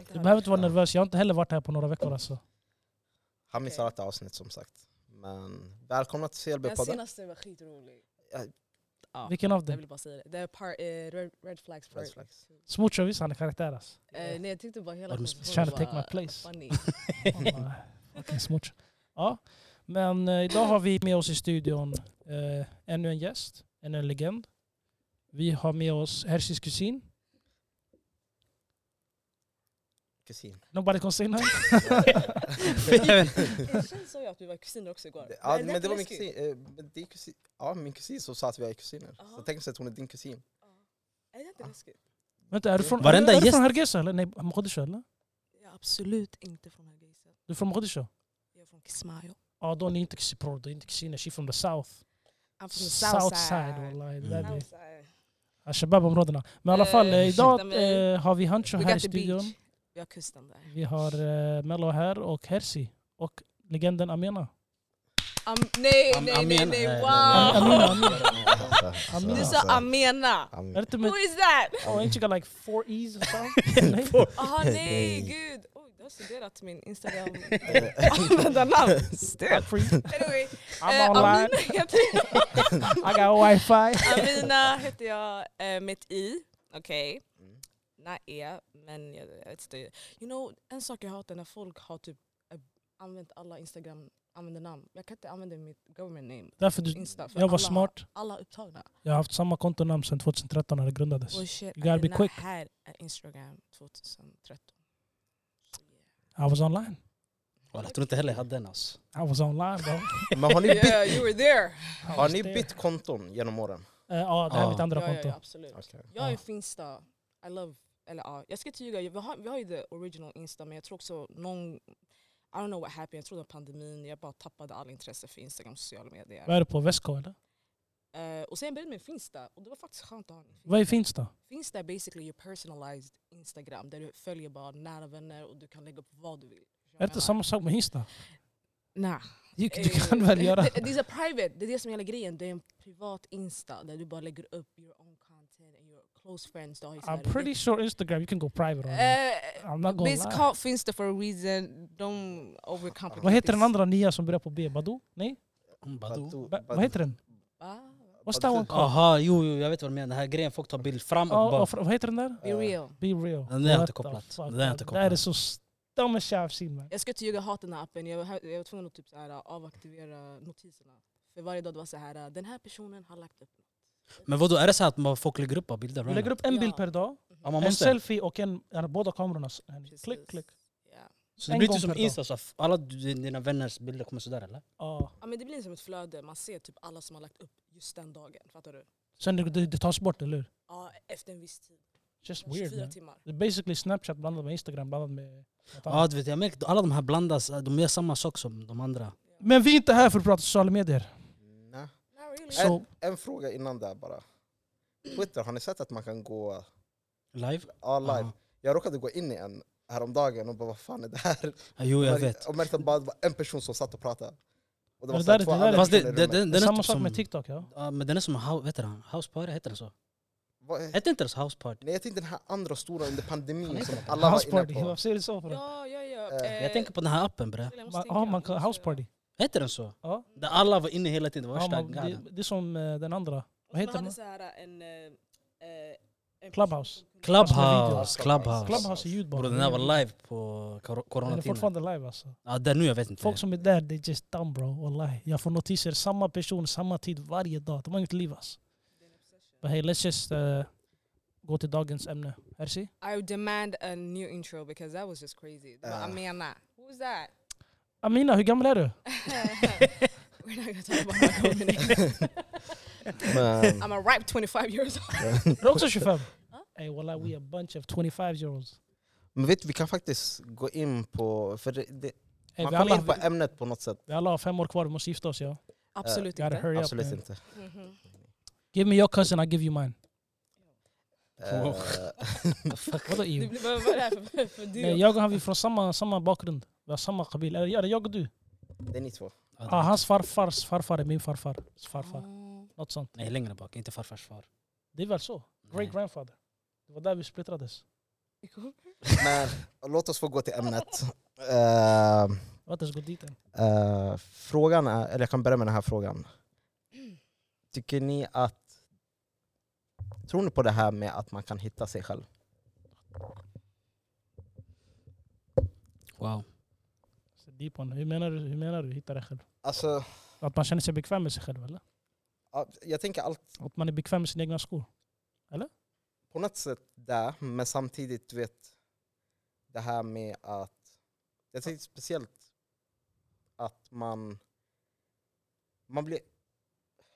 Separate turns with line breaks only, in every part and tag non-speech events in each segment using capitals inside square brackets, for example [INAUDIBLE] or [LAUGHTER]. behöver inte vara nervös, jag har inte heller varit här på några veckor alltså.
Han missar
Okej.
ett avsnitt som sagt. Men välkomna till
Den
CLB-podden.
senaste var skitrolig.
Ja.
Ja,
Vilken av
jag
dem?
vill bara säga det. Det är par, eh, red, red flags part.
Red flags.
Smucho visst, han är karaktär alltså.
Eh, nej jag tyckte bara hela
Var de
Trying
konversationen
to take my
var
place. [LAUGHS]
funny.
Fan, nej. Fucking smuts. Ja. Men eh, idag har vi med oss i studion eh, ännu en gäst, ännu en legend. Vi har med oss Hershys kusin.
[LAUGHS] Kusin.
Nobody can say no. [LAUGHS]
Eh, Sen sa jag att vi var kusiner också igår.
ja,
Är
men det
inte
var min
läskigt?
kusin. eh, men det är kusin. Ja, min kusin som sa att vi är kusiner.
Ja.
Så tänk sig att hon är din
[LAUGHS]
kusin.
Är det inte läskigt?
Vänta, är du från,
Varenda
är du
gäst-
från Hargeisa eller? Nej, Mogadishu eller?
Jag är absolut inte från Hargeisa.
Du är från Mogadishu?
Jag är från Kismayo.
Ja, då är ni inte kusin bror, du är inte kusiner. She from the south.
I'm
Southside wallahi. det där är
Southside.
det. Shabab-områdena. Men i
Mm.
alla
Eh,
fall, eh, idag
ursäkta mig.
eh, har vi Hancho
We
här i
got the
studion.
beach. Vi har kusten där.
Vi har eh, Mello här och Hersi. Och legenden Amina.
Am nej,
Am-
nej, nej,
Amena.
nej,
Nej,
wow!
nej, nej. Amina,
Amina.
[LAUGHS] Du sa Amena!
Ja,
Är det
men-
inte med...
Who is [LAUGHS] that?
[LAUGHS]
Oh, ain't you got like four E's or something? Nej.
Aha, nej,
Nej.
gud! Oj, du har studerat min [LAUGHS] Instagram-användarnamn. Stört!
Free.
Anyway, eh,
I'm
Amina
online,
[LAUGHS] heter
[LAUGHS] I got wifi.
Amina heter jag eh, med ett i. Okej.
Mm.
Nej, E, men jag, jag vet inte. You know, en sak jag hatar när folk har typ eh, använt alla Instagram användarnamn. Jag kan inte använda mitt government name
Därför
på
du,
Insta. för
jag var
alla,
smart.
Alla upptagna.
Jag har haft samma kontonamn sedan 2013 när det grundades.
Oh shit,
You gotta be
Amina,
quick.
här är Instagram 2013. Så, yeah.
I was online.
Walla, Jag tror inte heller jag hade den alltså.
I was online bro.
Men har ni bytt,
Yeah, you were there!
har ni bytt konton genom åren?
Eh, Ja, det här är mitt
Ja.
andra
Ja, ja,
konto.
ja, absolut.
Okej.
Jag
Ja.
är Finsta. I love, eller ja, jag ska inte ljuga. Vi har, vi har ju the original Insta men jag tror också någon, I don't know what happened, jag tror det var pandemin, jag bara tappade all intresse för Instagram och sociala medier.
Vad är det på? Västko eller?
Eh, och sen började jag med Finsta och det var faktiskt skönt att ha en
Vad är Finsta?
Finsta är basically your personalized Instagram där du följer bara nära vänner och du kan lägga upp vad du vill.
Är det inte samma sak med Insta?
Nej.
Du, [LAUGHS] du
Eh,
kan väl
[LAUGHS]
göra...
Det, det är så private, det är det som är hela grejen. Det är en privat Insta där du bara lägger upp your own content and your close friends. Du har ju så
I'm
här-
pretty sure Instagram you can go private on it.
Eh,
I'm not gonna
Biz
lie.
called Finsta for a reason. Don't overcomplicate
Vad heter
this.
den andra nya som börjar på B? Badoo? Nej?
Badoo.
Ba- vad heter den?
Va?
What's that one called?
Aha, jo, jo, jag vet vad du menar. Den här grejen folk tar bild fram och
Ja,
bak.
och fr- vad heter den där?
Be
Eh,
real.
Be real.
Den där har jag
What the
inte kopplat.
fuck,
Den där har jag inte
man. Det här är
kopplat.
så dumbest shit I've seen man.
Jag ska inte ljuga, jag hatar den här appen. Jag var, jag var tvungen att typ så här, avaktivera notiserna. För varje dag det var så här, äh, den här personen har lagt upp.
Men vadå, är det så här att man- folk lägger upp bara bilder?
Vi lägger upp en
Ja.
bild per dag,
ja, man
en
måste.
selfie och en, ja, båda kamerorna. så- en-
Precis.
Klick, klick.
Ja.
så
en
det blir
gång
inte som
per dag.
Insta, så att alla d- dina vänners bilder kommer sådär eller?
Ja.
ja men det blir som ett flöde, man ser typ alla som har lagt upp just den dagen. Fattar du?
Sen det, det, det tas bort, eller hur?
Ja, efter en viss tid.
Just weird
24
man.
timmar.
Det är basically Snapchat blandat med Instagram blandat med... något
Ja,
annat.
du vet, jag märker att alla de här blandas, de gör samma sak som de andra.
Men vi är inte här för att prata sociala medier.
Nej.
Not really.
Så-
En, en fråga innan där bara. Twitter, har ni sett att man kan gå
Live?
all live?
Ja.
Jag råkade gå in i en häromdagen och bara vad fan är det här?
Ja, jo, jag vet.
Och märkte bara att det var en person som satt och pratade. Och
Men det
så här
där-
två
det där-
andra
Fast det,
personer i
det,
rummet.
det,
Det är
den är
samma
typ
sak
som...
med TikTok ja.
Ja, men den är som, hou- vet du han? House Party, heter den så?
Vad-
Hette inte det så House Party?
Nej jag tänkte den här andra stora under pandemin som alla var
House party,
inne på.
varför säger du så för? Ja,
Ja, ja, ja.
Eh,
Jag tänker på den här appen bre.
jag måste
man,
tänka.
ja, man kan, house party.
Heter den så?
Ja.
Där alla var inne hela tiden, det var
Ja,
värsta
man,
garden.
det, det är som eh, den andra.
Och
Vad heter
man hade
den?
så här äh, en... eh, eh, en
Clubhouse.
Clubhouse,
Clubhouse.
Clubhouse.
Clubhouse är ljud bara.
Bro, den här var live på kor-
Den är
coronatiden.
fortfarande live alltså.
Ja, där nu jag vet inte.
Folk som är där, det är just dumb bro. Wallahi. Jag får notiser, samma person, samma tid varje dag. De har inget liv alltså. But hey, let's just eh, gå till dagens ämne. Hersi?
I demand a new intro because that was just crazy. Det var
Ah.
Amena. Who's that? [LAUGHS]
Amina, hur gammal
[LAUGHS]
är du?
We're not gonna talk about my combination.
Men,
I'm a ripe 25 years old.
Är du också 25? Ey wallahi, we a bunch of 25 year olds.
men vet du, vi kan faktiskt gå in på... För det, det,
Ey,
man
vi,
kommer in på
alla,
ämnet på något sätt.
vi alla har fem år kvar, vi måste gifta oss ja.
Absolut
Gotta
inte.
hurry up.
Absolut
man.
inte.
Mhm.
Give me your cousin, I give you mine.
Eh,
Wow.
Vadå
Det [LAUGHS]
EU?
blir vad vad är det här för, för du?
Nej, jag och han vi är från samma, samma bakgrund. Vi har samma kabil. Eller ja, det är jag och du.
det är ni två.
Ja,
Ah, hans farfars farfar är min farfars farfar.
Ah.
Något sånt.
Nej, längre bak. Inte farfars far.
Det är väl så? Great grandfather. Det var där vi splittrades.
Vi kommer- [LAUGHS]
Men låt oss få gå till
[LAUGHS]
ämnet. Eh,
Låt oss gå dit än.
eh, frågan är, eller jag kan börja med den här frågan. Tycker ni att... Tror ni på det här med att man kan hitta sig själv?
Wow.
Så deep one. Hur menar du, hur menar du hitta dig själv?
Alltså,
Att man känner sig bekväm med sig själv eller?
ja, jag tänker allt
Att man är bekväm med sina egna skor?
på något sätt där, men samtidigt du vet det här med att... Jag tänkte speciellt att man... Man blir...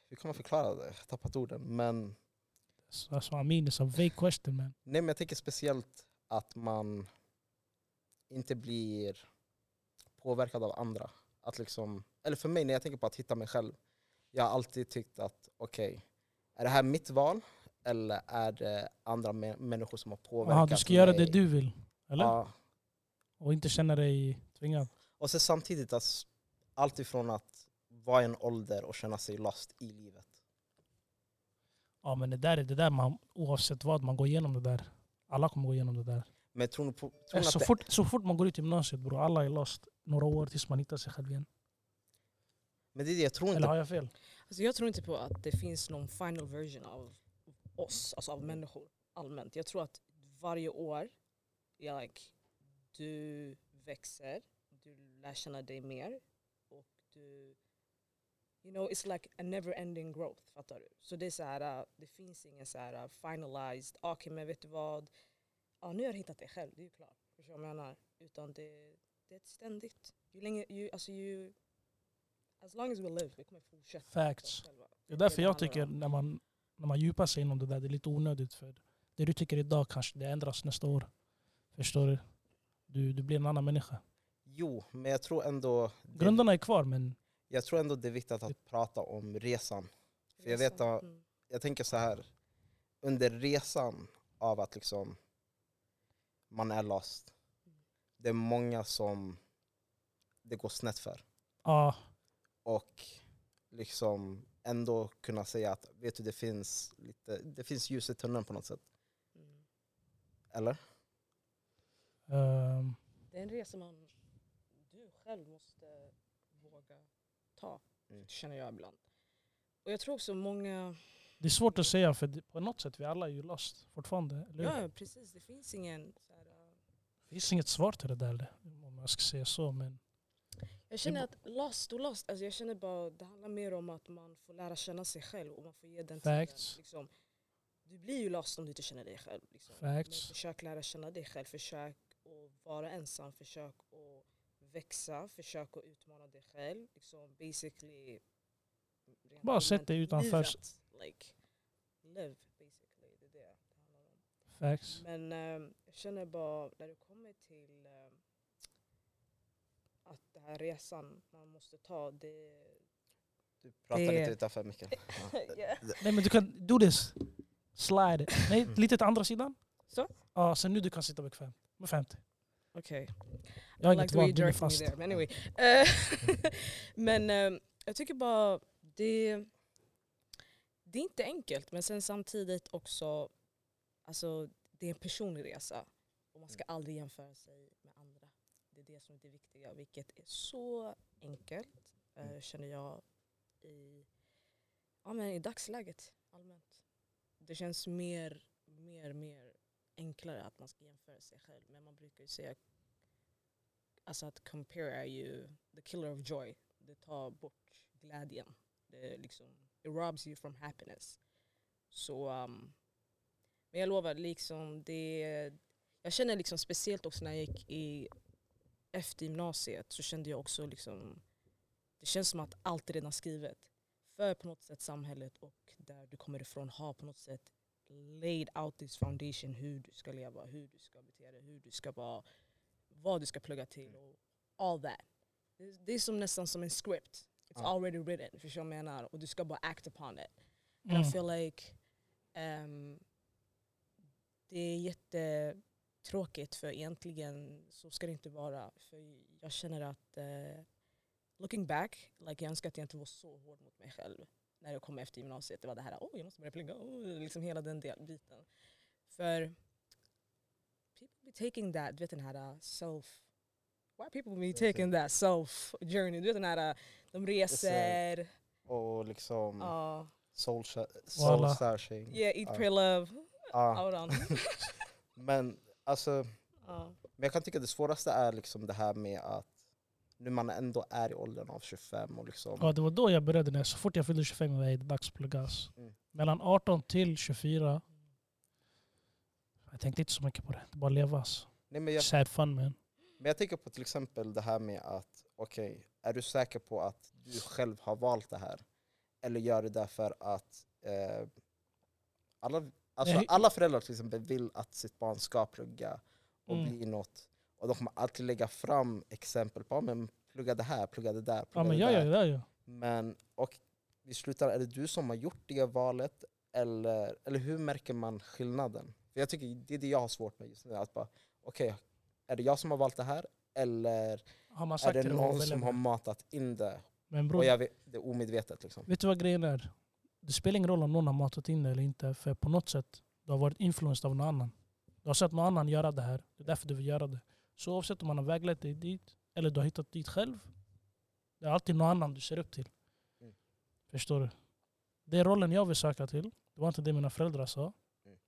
Hur kan man förklara det? Jag har tappat orden. Men
Så- Alltså I mean it's a vague question man.
Nej men jag tänker speciellt att man inte blir påverkad av andra. Att liksom, eller för mig när jag tänker på att hitta mig själv, jag har alltid tyckt att okej, är det här mitt val eller är det andra mä- människor som har påverkat
Aha, du ska göra
mig?
det du vill? Eller?
Ja.
Och inte känna dig tvingad?
Och sen samtidigt alltså, allt ifrån att vara i en ålder och känna sig lost i livet.
Ja men det där är det där man, oavsett vad, man går igenom det där. Alla kommer gå igenom det där.
Men tror ni på, tror ni
Så
att det,
fort, så fort man går ut gymnasiet bror, alla är lost några år tills man hittar sig själv igen.
men det är det jag tror
Eller
inte.
har jag fel?
Alltså jag tror inte på att det finns någon final version av oss, alltså av människor allmänt. Jag tror att varje år, like, du växer, du lär känna dig mer och du... You know, it's like a never ending growth, fattar du? Så det är så här, äh, det finns ingen så här äh, finalized, ah, okej men vet du vad, ja nu har du hittat dig själv, det är ju klart. Förstår du vad jag menar? Utan det, det är ett ständigt, ju länge, ju, alltså ju... As long as we live, vi kommer fortsätta.
Facts.
själva.
Det är därför
det
jag
handlar
tycker
om.
när man, när man djupar sig inom det där, det är lite onödigt. För det du tycker idag kanske det ändras nästa år. Förstår du? Du, du blir en annan människa.
Jo, men jag tror ändå... det-
Grunderna är kvar men
Jag tror ändå det är viktigt att prata om resan. För jag vet att-
Mm.
Jag tänker så här, under resan av att liksom man är lost, det är många som det går snett för.
ja,
Och liksom ändå kunna säga att vet du, det finns, lite, det finns ljus i tunneln på något sätt.
Mm.
Eller?
ehm,
Det är en resa man, du själv måste våga ta,
Mm.
känner jag ibland. Och jag tror också många,
det är svårt att säga för det- på något sätt vi alla är ju lost fortfarande. Eller? hur?
ja precis, det finns ingen så här, äh,
Det finns inget svar till det där eller? om jag ska säga så. Men
Jag känner att lost och lost, alltså jag känner bara det handlar mer om att man får lära känna sig själv och man får ge den
Facts.
tiden. Liksom, du blir ju lost om du inte känner dig själv. Liksom.
Facts.
Men försök lära känna dig själv, försök att vara ensam, försök att växa, försök att utmana dig själv. Liksom, basically, rent
Bara sätt
allmänt,
dig utanför-
livet, Like, live basically, det är det det handlar om.
facts.
Men eh, jag känner bara när det kommer till eh, att den här resan man måste ta, det...
Du pratar
Det-
lite utanför
[LAUGHS]
mycket. Ja.
yeah.
Nej men du kan, do this. Slide. Nej, lite till andra sidan.
Så?
Ja, så nu du kan sitta bekvämt. Bekvämt.
Okej, okay.
Jag har inget val, du är fast.
there. Men anyway. Eh, [LAUGHS] men eh, jag tycker bara det... Det är inte enkelt men sen samtidigt också, alltså det är en personlig resa. Och man ska
Mm.
aldrig jämföra sig med andra. Det är det som är det viktiga, vilket är så enkelt eh,
Mm.
känner jag i, ja, men i dagsläget allmänt. Det känns mer, mer, mer enklare att man ska jämföra sig själv. Men man brukar ju säga alltså att compare är ju the killer of joy. Det tar bort glädjen. Det liksom, it robs you from happiness. Så, um, men jag lovar, liksom det, jag känner liksom speciellt också när jag gick i efter gymnasiet så kände jag också liksom, det känns som att allt är redan skrivet. För på något sätt samhället och där du kommer ifrån har på något sätt laid out this foundation hur du ska leva, hur du ska bete dig, hur du ska vara, vad du ska plugga till och all that. Det, det är som nästan som en script. It's
Ja.
already written, förstår du vad jag menar? Och du ska bara act upon it. And I
Mm.
feel like ehm, det är jättetråkigt för egentligen så ska det inte vara. För jag känner att eh, looking back, like, jag önskar att jag inte var så hård mot mig själv när jag kom efter gymnasiet. Det var det här, oh, jag måste börja plugga, oh, liksom hela den del, biten. För people be taking that, du vet den här uh, self... Why people be
That's it.
taking that self journey? Du vet den här, uh, de reser,
Och liksom
ja,
soul, soul
Walla.
searching.
yeah, eat,
Mm. Ja.
pray, love.
Ja,
Out
[LAUGHS]
on.
Men alltså,
Ja.
men jag kan tycka det svåraste är liksom det här med att nu man ändå är i åldern av 25 och liksom
Ja, det var då jag började. När, så fort jag fyllde 25 var jag dags att plugga. alltså.
Mm.
Mellan 18 till 24. Jag tänkte inte så mycket på det. Det bara leva. Alltså.
Nej, men, jag,
Sad fun man.
men jag tänker på till exempel det här med att okej, är du säker på att du själv har valt det här? Eller gör du det för att eh, alla, alltså,
Nej.
alla föräldrar till exempel vill att sitt barn ska plugga och
Mm.
bli något. Och de kommer alltid lägga fram exempel på "Ah, men plugga det här, plugga det där, plugga
Ja,
det
men jag
där.
gör ju det. Ju.
Men och i slutändan, är det du som har gjort det valet? Eller, eller hur märker man skillnaden? För jag tycker det är det jag har svårt med just nu. Att bara, okej, är det jag som har valt det här? Eller
Har man
är
sagt
det
till dem att
någon
välja
som
det?
har matat in det?
Men bror,
Och jag vet, det är omedvetet liksom.
vet du vad grejen är? Det spelar ingen roll om någon har matat in det eller inte. För på något sätt, du har varit influenced av någon annan. Du har sett någon annan göra det här. Det är därför du vill göra det. Så oavsett om man har väglett dig dit eller du har hittat dit själv. Det är alltid någon annan du ser upp till.
Mm.
Förstår du? Det är rollen jag vill söka till. Det var inte det mina föräldrar sa.
Mm.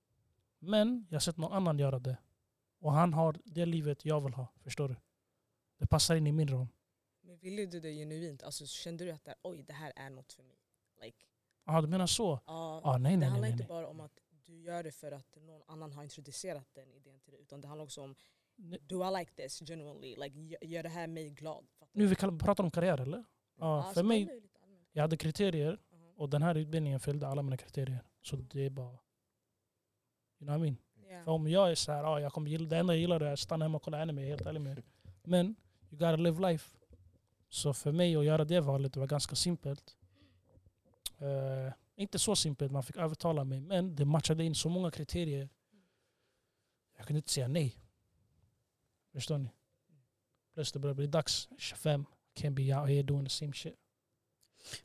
Men jag har sett någon annan göra det. Och han har det livet jag vill ha. Förstår du? Det passar in i min roll.
Men ville du det genuint? Alltså, kände du att det här, oj, det här är något för mig? Like,
Jaha, Ah, du menar så?
ja,
Ah, nej,
det
nej, nej,
handlar
nej.
inte
nej.
bara om att du gör det för att någon annan har introducerat den idén till dig utan det handlar också om
Nu-
do I like this genuinely? Like, gö- gör det här mig glad? Fattar
Nu
du?
vi kall- pratar om karriär eller? Ja,
Alltså,
för mig,
kolla ju lite allmänt.
jag hade kriterier
Aha.
och den här utbildningen fyllde alla mina kriterier. Så det är bara... You know what I mean?
Ja.
För om jag är så här, ah, jag kommer gilla, det enda jag gillar är att stanna hemma och kolla anime, helt ärlig med er. Men you gotta live life. Så för mig att göra det valet var ganska simpelt. Eh, inte så simpelt, man fick övertala mig. Men det matchade in så många kriterier. Jag kunde inte säga nej. Förstår ni? Plus det börjar bli dags, 25. Can't be out here doing the same shit.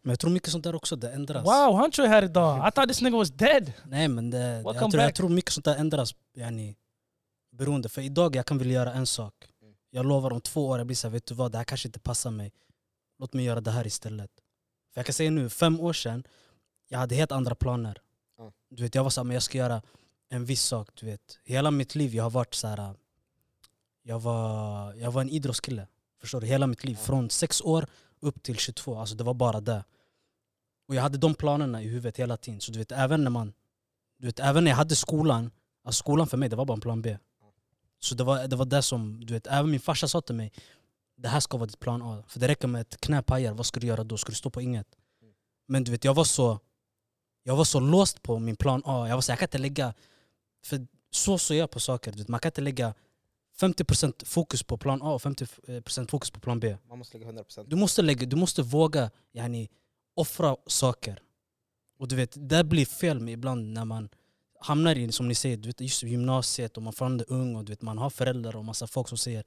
Men jag tror mycket sånt där också, det ändras.
Wow, Hunter är här idag! I thought this nigga was dead!
Nej men det,
Welcome
jag, tror, jag
back.
tror mycket sånt där ändras yani, beroende. För idag jag kan vilja göra en sak.
Mm.
Jag lovar om två år, jag blir såhär, vet du vad, det här kanske inte passar mig. Låt mig göra det här istället. För jag kan säga nu, fem år sedan, jag hade helt andra planer.
Ja.
Du vet, jag var såhär, men jag ska göra en viss sak. Du vet. Hela mitt liv jag har varit såhär, jag var, jag var en idrottskille. Förstår du? Hela mitt liv.
Ja.
Från sex år upp till 22. Alltså det var bara det. Och jag hade de planerna i huvudet hela tiden. Så du vet, även när man... Du vet, även när jag hade skolan, alltså skolan för mig det var bara en plan B. Så det var det, var det som, du vet, även min farsa sa till mig, det här ska vara ditt plan A. För det räcker med ett knä pajar, vad ska du göra då? Ska du stå på inget?
Mm.
Men du vet, jag var så jag var så låst på min plan A. Jag var så här, jag kan inte lägga, för så såg jag på saker. Du vet, man kan inte lägga 50% fokus på plan A och 50% fokus på plan B.
Man måste lägga 100%.
Du måste, lägga, du måste våga yani, offra saker. Och du vet, det blir fel med ibland när man hamnar i, som ni säger, du vet, just gymnasiet och man fortfarande är ung och du vet, man har föräldrar och massa folk som säger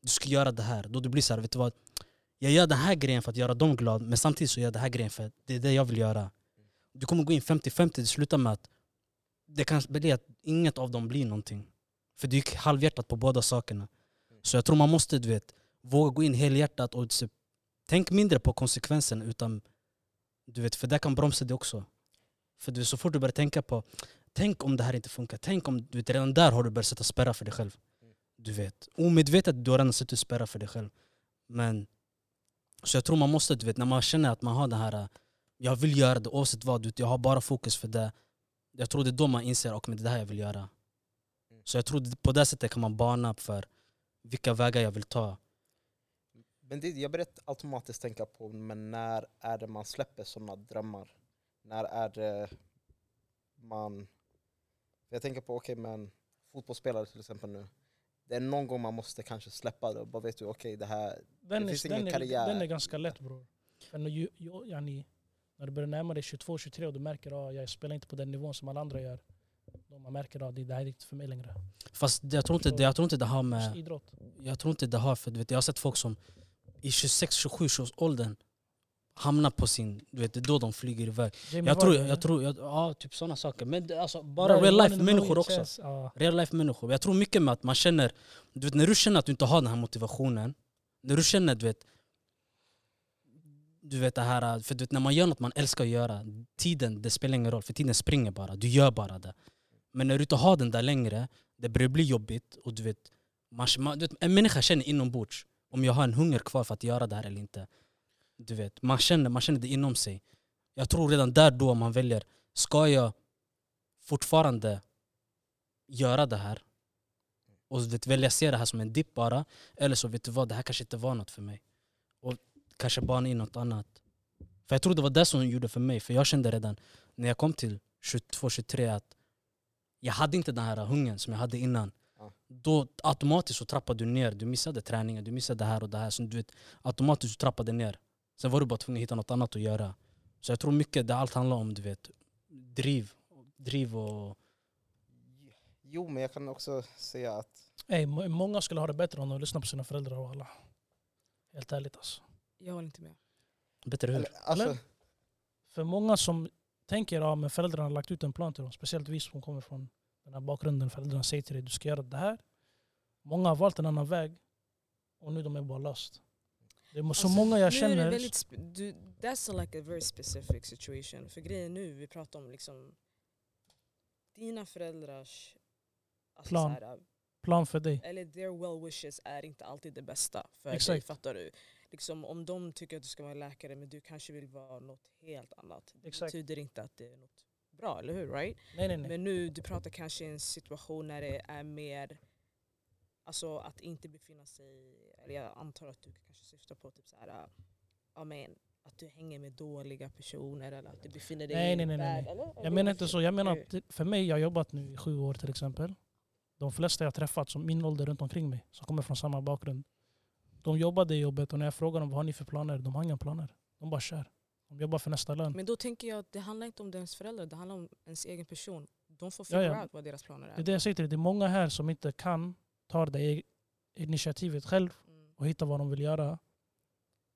du ska göra det här. Då det blir så här, vet du vad? Jag gör den här grejen för att göra dem glad men samtidigt så gör jag den här grejen för att det är det jag vill göra. Du kommer gå in 50-50, det slutar med att det kan bli att inget av dem blir någonting. För du gick halvhjärtat på båda sakerna. Så jag tror man måste, du vet, våga gå in helhjärtat och typ se Tänk mindre på konsekvensen utan du vet, för det kan bromsa dig också. För du, så fort du börjar tänka på, tänk om det här inte funkar, tänk om, du vet, redan där har du börjat sätta spärrar för dig själv. Du vet, omedvetet du har redan satt ut spärrar för dig själv. Men, så jag tror man måste, du vet, när man känner att man har det här, äh, jag vill göra det oavsett vad, du vet, jag har bara fokus för det. Jag tror det är då man inser, och men det är det här jag vill göra. Så jag tror det- på det sättet kan man bana upp för vilka vägar jag vill ta.
Men det, jag börjar automatiskt tänka på, men när är det man släpper sådana drömmar? När är det man... Jag tänker på, okej men fotbollsspelare till exempel nu. Det är någon gång man måste kanske släppa det och bara vet du, okej det här...
Den,
Det
är,
finns ingen
den, är,
karriär.
den är ganska lätt bror. Men ju, ju, yani, när du börjar närma dig 22-23 och du märker att ah, jag spelar inte på den nivån som alla andra gör. Då man märker att ah, det det här är inte för mig längre.
Fast jag tror inte, det- jag tror inte det har med...
Just idrott.
Jag tror inte det har, för du vet, jag har sett folk som i 26, 27 års åldern hamnar på sin... Du vet, det är då de flyger iväg.
Jamie
Jag tror,
Vardy,
jag tror, jag, ja typ sådana saker. Men det, alltså, bara
Vardy,
real
one
life
in a
människor
million
också.
chance. Ja.
Real life människor. Jag tror mycket med att man känner, du vet när du känner att du inte har den här motivationen. När du känner du vet, du vet det här, för du vet, när man gör något man älskar att göra, tiden det spelar ingen roll för tiden springer bara, du gör bara det. Men när du inte har den där längre, det börjar bli jobbigt och du vet, man, man, du vet en människa känner inombords om jag har en hunger kvar för att göra det här eller inte. Du vet, man känner, man känner det inom sig. Jag tror redan där då man väljer, ska jag fortfarande göra det här och du vet, välja se det här som en dipp bara eller så vet du vad, det här kanske inte var något för mig. Och kanske bana in något annat. För jag tror det var det som gjorde för mig, för jag kände redan när jag kom till 22-23 att jag hade inte den här hungern som jag hade innan.
Ja.
Då automatiskt så trappade du ner, du missade träningen, du missade det här och det här. Så du vet, automatiskt så trappade du ner. Sen var du bara tvungen att hitta något annat att göra. Så jag tror mycket, det allt handlar om du vet, driv. Driv och...
Jo, men jag kan också säga att
Ey, må- många skulle ha det bättre om de lyssnar på sina föräldrar och alla. Helt ärligt alltså.
Jag håller inte med.
Bättre hur?
eller, alltså,
Eller? För många som tänker att ja, men föräldrarna har lagt ut en plan till dem, speciellt vi som kommer från den här bakgrunden, föräldrarna säger till dig du ska göra det här. Många har valt en annan väg och nu de är bara lost. Det är så
Alltså,
många jag
nu
känner...
Är det väldigt sp- du, that's like a very specific situation. För grejen nu, vi pratar om liksom dina föräldrars alltså
Plan.
så här,
plan för dig.
eller their well wishes är inte alltid det bästa för dig.
Exakt.
Fattar du? Liksom, om de tycker att du ska vara läkare men du kanske vill vara något helt annat. Det
Exakt.
betyder inte att det är något bra, eller hur? Right?
Nej, nej, nej.
Men nu, du pratar kanske i en situation när det är mer Alltså att inte befinna sig, eller jag antar att du kanske syftar på typ så här, äh, ja men att du hänger med dåliga personer eller att du befinner dig
Nej,
i
nej,
en
nej, nej,
värld,
nej.
eller?
Jag menar inte så. Jag menar
Nej.
att det- för mig, jag har jobbat nu i sju år till exempel. De flesta jag träffat som min ålder runt omkring mig, som kommer från samma bakgrund. De jobbade i jobbet och när jag frågar dem vad har ni för planer, de har inga planer. De bara kör. De jobbar för nästa lön.
Men då tänker jag att det handlar inte om deras föräldrar, det handlar om ens egen person. De får
Ja,
figure
ja.
out vad deras planer är.
Det är det jag säger till dig. Det är många här som inte kan ta det e- initiativet själv
Mm.
och hitta vad de vill göra.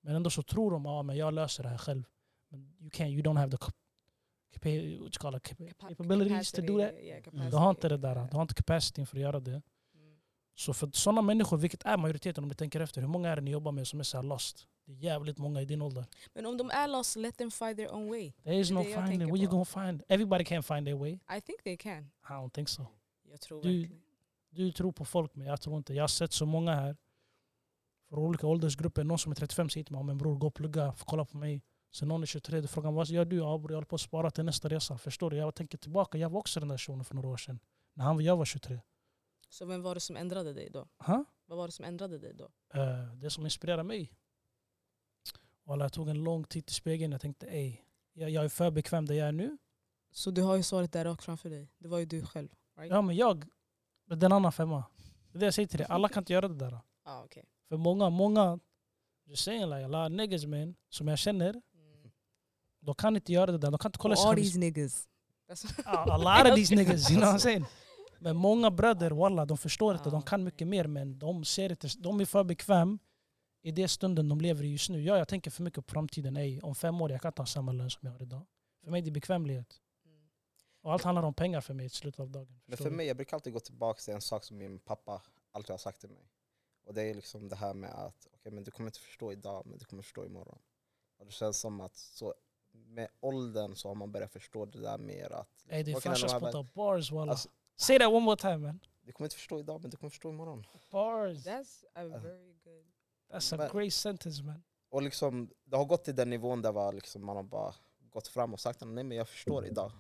Men ändå så tror de att ah, men jag löser det här själv. Men you, can't, you don't have the cap- capa- what you call it, capa-
Capa-
capabilities to do that.
Mm. capacity, yeah,
Du har inte det
capacity.
där. Du har inte capacityn för att göra det.
Mm.
Så för sådana människor, vilket är majoriteten om du tänker efter, hur många är det ni jobbar med som är så här lost? Det är jävligt många i din ålder.
Men om de är lost, let them find their own way.
There is
Det är
no
det jag
finding.
tänker
Where you
på.
gonna find? Everybody can find their way.
I think they can.
I don't think so.
Jag tror
Du-
verkligen.
Du tror på folk, men jag tror inte. Jag har sett så många här från olika åldersgrupper. Någon som är 35 säger till mig, "Ja, men bror gå och plugga, För kolla på mig. Sen någon är 23, du frågar vad gör du? Ja bror, jag håller på att spara till nästa resa. Förstår du? Jag tänker tillbaka, jag var också den där personen för några år sedan. När han, jag var 23.
Så vem var det som ändrade dig då?
Huh?
Vad var det som ändrade dig då?
Eh, det som inspirerar mig. Och jag tog en lång titt i spegeln jag tänkte ej, jag, jag är för bekväm där jag är nu.
Så du har ju svaret där rakt framför dig. Det var ju du själv.
Ja men jag, det är en annan femma. Det är det jag säger till dig, alla kan inte göra det där.
Ah, okay.
För många, många, just saying like a lot of niggas man, som jag känner,
mm.
de kan inte göra det där. De kan inte kolla sig
all
själva i
these niggas.
A, a lot
[LAUGHS]
of these niggas, you know what I'm saying? Men många bröder, walla, de förstår inte. De
Ja.
kan mycket mer men de ser inte. De är för bekväm i det stunden de lever i just nu. Ja, jag tänker för mycket på framtiden. Ej, om fem år jag kan inte ha samma lön som jag har idag. För mig är det bekvämlighet.
Mm.
Och allt handlar om pengar för mig i slutet av dagen.
men
Förstår
för
du?
mig, jag brukar alltid gå tillbaka till en sak som min pappa alltid har sagt till mig. Och det är liksom det här med att okej, men du kommer inte förstå idag, men du kommer förstå imorgon. Och det känns som att så, med åldern så har man börjat förstå det där mer att
Ey, det är
vad kan
farsans
hända med-
spotta bars walla.
Alltså-
Say that one more time man.
du kommer inte förstå idag, men du kommer förstå imorgon.
Bars.
That's a very good...
That's a
Men-
great sentence man.
Och liksom, det har gått till den nivån där var liksom, man har bara gått fram och sagt nej men jag förstår idag.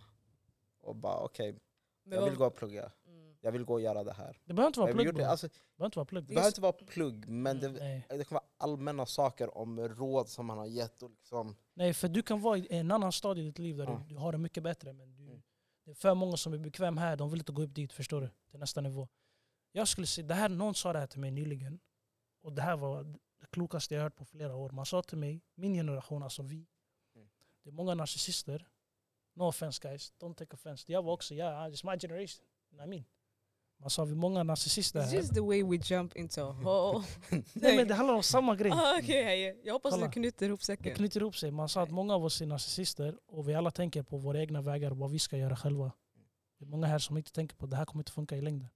Och bara okej,
Men
jag vill
vad-
gå och plugga,
Mm.
jag vill gå och göra det här.
Det behöver inte vara
Jag
plugg.
gjorde,
bro.
alltså, det
Det Mm. behöver inte vara plugg. Alltså,
behöver inte vara plugg, men det,
Nej.
det kan vara allmänna saker om råd som han har gett. Och liksom,
Nej, för du kan vara i en annan stadie i ditt liv där
Ja.
du, du har det mycket bättre. Men du,
Mm.
det är för många som är bekväma här, de vill inte gå upp dit, förstår du? Till nästa nivå. Jag skulle säga, det här, någon sa det här till mig nyligen, och det här var det klokaste jag hört på flera år. Man sa till mig, min generation, alltså vi,
Mm.
det är många narcissister. No offense guys, don't take offense. Jag var också, yeah, it's my generation. You know what I mean? Alltså vi är många narcissister
It's
här.
just the way we jump into a hole.
Nej men det handlar om samma grej.
ah, okay, ja, ja. Jag hoppas
Kolla.
du knyter ihop
Det
säcken.
knyter ihop sig. Man sa att många av oss är narcissister och vi alla tänker på våra egna vägar och vad vi ska göra själva. Det är många här som inte tänker på att det här kommer inte funka i längden.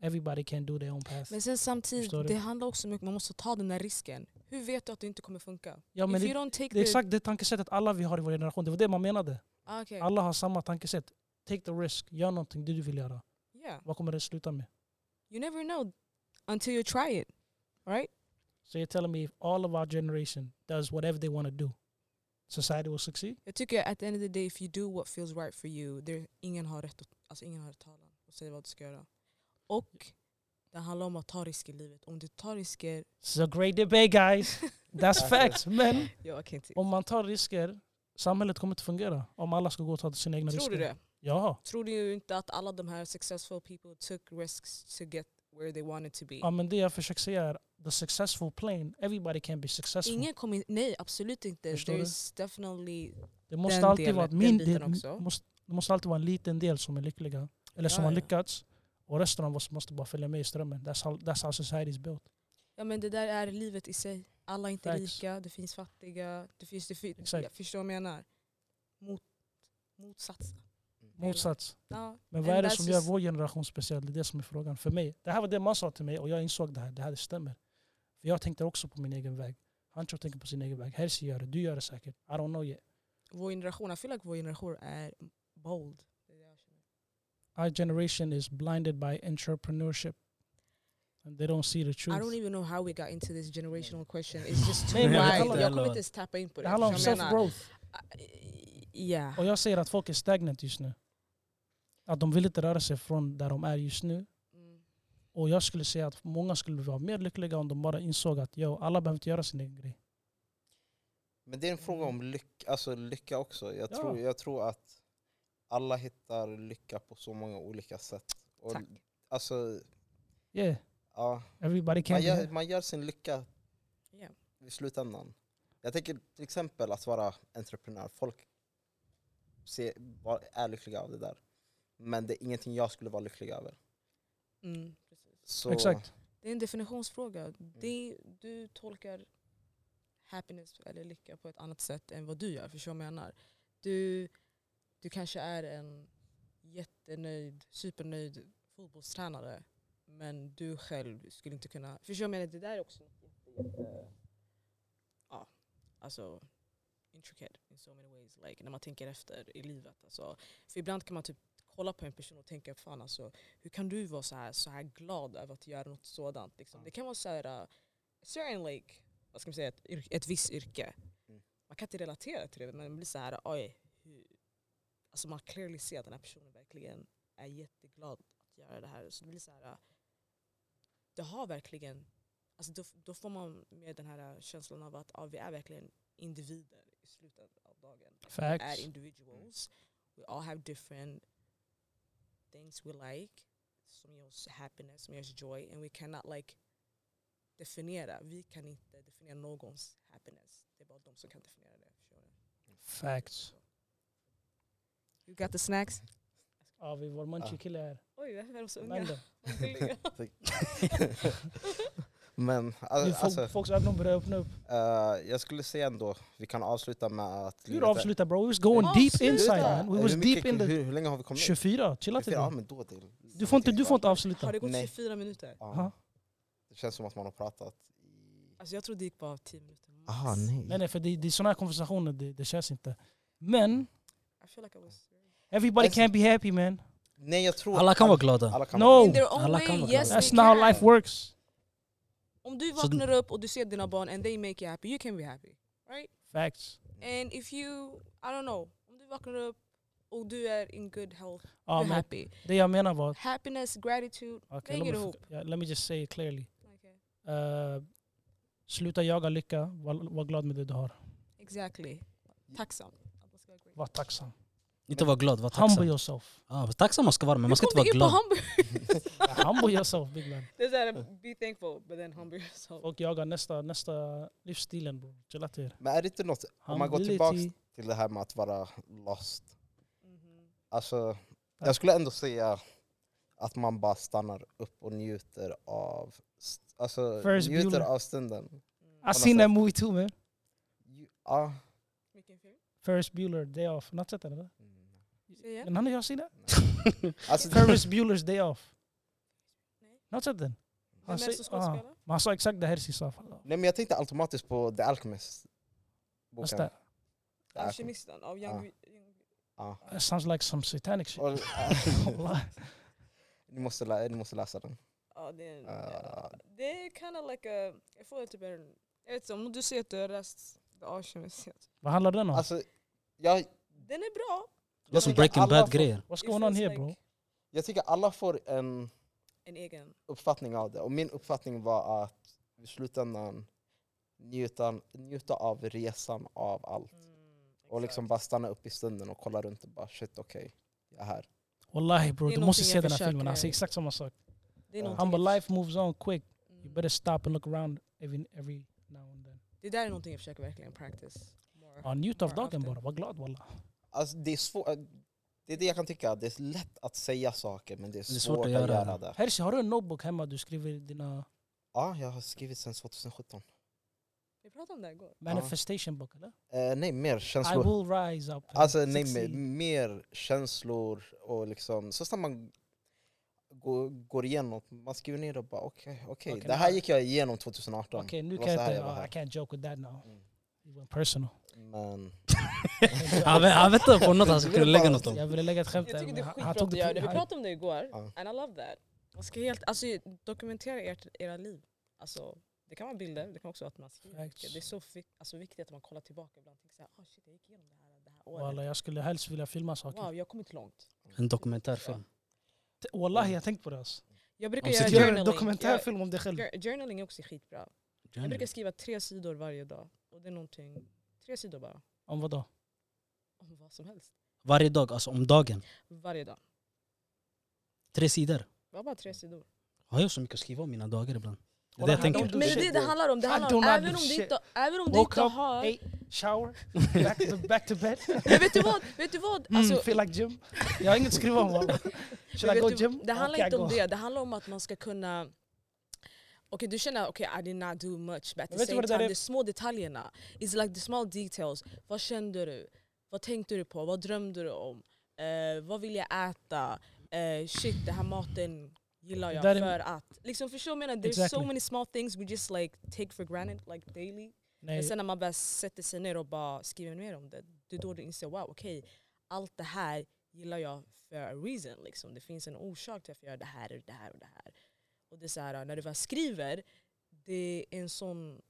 Everybody can do their own path.
Men sen
Förstår
samtidigt,
du?
det handlar också mycket om man måste ta den där risken. Hur vet du att det inte kommer funka?
ja, men
If
det,
you don't take
det är
the...
exakt det tankesättet alla vi har i vår generation. Det var det man menade.
Ah, okay.
Alla har samma tankesätt. Take the risk. Gör någonting det du vill göra.
yeah.
Vad kommer det sluta med?
You never know until you try it. Right?
So you're telling me if all of our generation does whatever they want to do, society will succeed?
Jag tycker at the end of the day, if you do what feels right for you, there, ingen har rätt att, alltså ingen har talan och säga vad du ska göra. Och det handlar om att ta risker i livet. Om du tar risker...
This is a great
[LAUGHS]
debate guys. That's facts. Men
Jag kan inte...
om man tar risker, samhället kommer inte fungera. Om alla ska gå och ta sina egna
Tror
risker.
du det?
Ja.
Tror du inte att alla de här successful people took risks to get where they wanted to be?
Ja men det jag försöker säga är the successful plane, everybody can be successful.
Ingen kommer... in- Nej, absolut inte.
Alltså, Förstår du?
There's definitely...
det måste
den
alltid
delen-
vara att
den
min
biten
del,
också.
Måste, det måste alltid vara en liten del som är lyckliga. Eller som
Ja,
har
ja.
lyckats. Och resten av oss måste bara följa med i strömmen. That's how, that's how society is built.
Ja men det där är livet i sig. Alla är inte
Facts.
rika, det finns fattiga, det finns... Det fi-
Exakt.
Jag förstår vad jag menar? Mot, motsatsen.
Motsats.
Ja,
Men vad
and
är det
that's
som gör
just-
vår generation speciell? Det är det som är frågan för mig. Det här var det man sa till mig och jag insåg det här. Det här det stämmer. För jag tänkte också på min egen väg. Hancho tänker på sin egen väg. Herzi gör det. Du gör det säkert. I don't know yet.
vår generation, I feel like vår generation är bold. Det är det jag känner.
Our generation is blinded by entrepreneurship. And they don't see the
I don't
truth.
even know how we got into this generational question. It's just too
Nej, men det
wide.
handlar-
Jag kommer inte ens tappa in på det.
Det handlar om
förstår du vad jag menar?
self-growth.
Ja.
Och jag säger att folk är stagnant just nu. Att de vill inte röra sig från där de är just nu.
Mm.
Och jag skulle säga att många skulle vara mer lyckliga om de bara insåg att yo, alla behöver inte göra sin egen grej.
Men det är en fråga om lycka, alltså lycka också. Jag,
Ja.
tror, jag tror att alla hittar lycka på så många olika sätt. Och,
Mm, Tack.
Alltså,
Yeah,
ja,
everybody can
man,
be
gör,
happy.
man gör sin lycka
Ja.
i slutändan. Jag tänker till exempel att vara entreprenör. Folk ser, var, är lyckliga av det där. Men det är ingenting jag skulle vara lycklig över.
Mm.
Så,
Exakt.
Det är en definitionsfråga. Det, du tolkar happiness eller lycka på ett annat sätt än vad du gör. Förstår du vad jag menar? Du, du kanske är en jättenöjd, supernöjd fotbollstränare men du själv skulle inte kunna... Förstår du vad jag menar? Det där är också något jätte, jätte... Ja, alltså intricate in so many ways. Like, när man tänker efter i livet. Alltså, för ibland kan man typ kolla på en person och tänka fan alltså hur kan du vara så här, så här glad över att göra något sådant? Liksom? Det kan vara så här, uh, certain like, vad ska man säga, ett, yr- ett visst yrke.
Mm.
Man kan inte relatera till det, men det blir så här, oj, hur, alltså man clearly ser att den här personen verkligen är jätteglad att göra det här. Så det blir så här, uh, det har verkligen, alltså då, då får man med den här uh, känslan av att ja, vi är verkligen individer i slutet av dagen
Facts.
are individuals. We all have different things we like. Some else happiness, some else joy, and we cannot like definiera. Vi kan inte definiera någons happiness. Det är bara de som kan definiera det. förstår du?
Facts.
You got the snacks?
Ja, vi vår
Ah.
munchie-kille här.
Oj, varför är de så [LAUGHS] unga?
Nando.
Vad gulliga.
[LAUGHS] Men
Nu
al-
folk,
alltså,
folks ögon börjar öppna upp.
eh, jag skulle säga ändå, vi kan avsluta med att...
Hur avsluta bro? We was going deep
Avsluta!
inside man. We
Hur
was deep
mycket-
in the...
hur, hur länge har vi kommit?
24, chilla
24, ja,
till
men då det är-
Du får inte, du får inte avsluta.
Har det gått
Nej.
24 minuter?
Ja.
Ha?
Det känns som att man har pratat i...
Alltså jag tror det gick bara 10 minuter. max.
Nej nej, för det, det är sådana här konversationer, det, det känns inte. Men,
I feel like I was...
everybody
Alltså-
can be happy man.
Nej, jag tror...
Alla kan vara glada.
Oh, Alla kan
No!
vara
In
glada.
their own
alla
way,
kan vara
yes
glada.
That's
they
not how
can.
life works.
Om du
Så-
vaknar upp och du ser dina barn and they make you happy, you can be happy. Right?
Facts.
And if you, I don't know, om du vaknar upp och du är in good health,
Ja,
you're
Ah, men
happy.
det jag menar var...
Happiness, gratitude.
Okay,
Hänger
let, me,
ihop.
förkla- yeah, let me just say it clearly.
Okay.
Eh, sluta jaga lycka, var, var glad med det du har.
Exactly. Tacksam. Att man ska vara grateful.
Var tacksam.
Inte vara glad, var
Humble
tacksam.
yourself.
Ja, tacksam man ska vara, men man ska
Hur
inte
kom vi
vara
in på
glad.
humble?
[LAUGHS] Humble
[LAUGHS]
yourself big man.
Det är såhär, be thankful but then humble yourself.
Och jaga nästa, nästa livsstilen bro. Chilla till er.
Men är det inte något, om man går
Humility.
tillbaka till det här med att vara lost.
Mhm.
Alltså, jag skulle ändå säga Att man bara stannar upp och njuter av, st- alltså,
Ferris
njuter
Bueller.
av stunden.
Mm.
I seen that movie too man.
Ju- ah. Ja.
Vilken film?
Ferris Bueller Day Off. Har ni sett den eller?
Mm.
Säg igen.
Men har ni jag sett den?
Alltså,
Ferris Bueller's Day Off.
Nej.
Har ni sett den?
Vem är
säger-
det som skådespelar?
Men han sa exakt det Hersi sa.
nej, men jag tänkte automatiskt på The Alchemist.
What's
Boken.
that?
The
Oh,
Alchemist.
Alkemisten av
Ah.
Young... Young-
Ja.
That sounds like some satanic shit.
Och, [LAUGHS] äh,
Wallah.
ni, måste lä- ni måste läsa den.
Ja, det är en...
Ah.
Det är kind of like a... Jag får typ en... Jag vet inte, om du säger att du har läst The Alchemist.
Vad handlar den om?
Alltså, jag,
Den är bra.
Det var som
Jag tycker
Breaking
alla
Bad
får-
grejer.
What's
It
going on
feels
here
like
bro?
jag tycker alla får en
En egen.
uppfattning av det. Och min uppfattning var att i slutändan njuta, njuta av resan av allt.
Mm,
Och liksom bara stanna upp i stunden och kolla runt och bara shit okej, jag är här.
Wallahi bro,
Det är
du måste
någonting
se
jag
den här
försöker-
filmen. Han säger exakt samma sak.
Det är
Ja.
någonting
Han bara
jag-
life moves on quick. You
Mm.
better stop and look around every, every now and then.
Det där är någonting jag försöker verkligen practice. more.
Ja, njut av
Bara
dagen
after.
bara, var glad wallah.
Alltså, det, är svår, det är det jag kan tycka, det är lätt att säga saker men det är svårt, att, göra, det.
Hersi, har du en notebook hemma du skriver dina
Ja, jag har skrivit sedan 2017.
Vi pratade om det här igår.
manifestation book eller?
Eh, nej, mer
I
känslor.
will rise up. and
Alltså nej, mer,
succeed.
mer känslor och liksom, så snart man går, går igenom, man skriver ner och bara okej, okej.
Okej,
det
nu-
här gick jag igenom 2018.
Okej, nu
Det var
kan
så
jag
här
inte,
jag var
ah,
här.
I can't joke with that now.
Mm.
It went personal.
Men
Han vä- han väntade på något han skulle lägga något om.
Jag ville lägga ett skämt
Jag
där
tycker det
men
är
han-
skitbra
han tog
att du gör
det
det. Vi
till hype.
pratade om det igår,
Ja.
and I love that. Man ska helt, alltså, dokumentera ert, era liv. Alltså, det kan vara bilder, det kan också vara att man skriver.
Facts.
mycket. Det är så fi- alltså, viktigt att man kollar tillbaka ibland och tänker såhär, ah shit jag gick igenom det här det här året.
Wallah, jag skulle helst vilja filma saker.
Wow, jag har kommit långt.
En dokumentärfilm.
T- Wallahi, jag har tänkt på det alltså.
Jag brukar
Om
göra
sitt
Gör
journaling.
en dokumentärfilm om dig själv.
Jag, jour- journaling är också skitbra. Jag brukar skriva tre sidor varje dag. Och det är någonting, tre sidor bara,
Om vadå?
om vad som helst.
Varje dag, alltså om dagen.
Varje dag.
Tre sidor.
Det var bara tre sidor.
Har jag så mycket att skriva om mina dagar ibland? Det är det jag
Kolla,
tänker.
don't do
Men det är
shit,
det det
bro.
handlar om. Det
I
handlar
do
om
not
även
do
om du
shit.
inte, även om du
Woke
inte
up,
har...
ate, shower, [LAUGHS]
[LAUGHS]
back to, back to bed.
[LAUGHS] Men vet du vad? Vet du vad?
Mm,
Alltså,
feel like gym. Jag har inget att skriva om. wallah. Should I
vet
go
du,
gym?
Det handlar
Okay,
inte
I
om
go.
det, det handlar om att man ska kunna Okej du känner okej I did not do much but at
Men
the
vet du vad
same
det där
time,
är?
de små detaljerna. It's like the small details. Vad kände du? Vad tänkte du på? Vad drömde du om? Eh, vad vill jag äta? Eh, shit, den här maten gillar
Det
jag
där är-
för att... Liksom förstår du vad jag menar? There's
Exactly.
so many small things we just like take for granted like daily. Men
Nej,
sen när man bara sätter sig ner och bara skriver mer om det, det är då du inser wow, okej, allt det här gillar jag för a reason. Liksom. Det finns en orsak till att jag gör det här och det här och det här. Och det är så här, när du väl skriver, det är en sån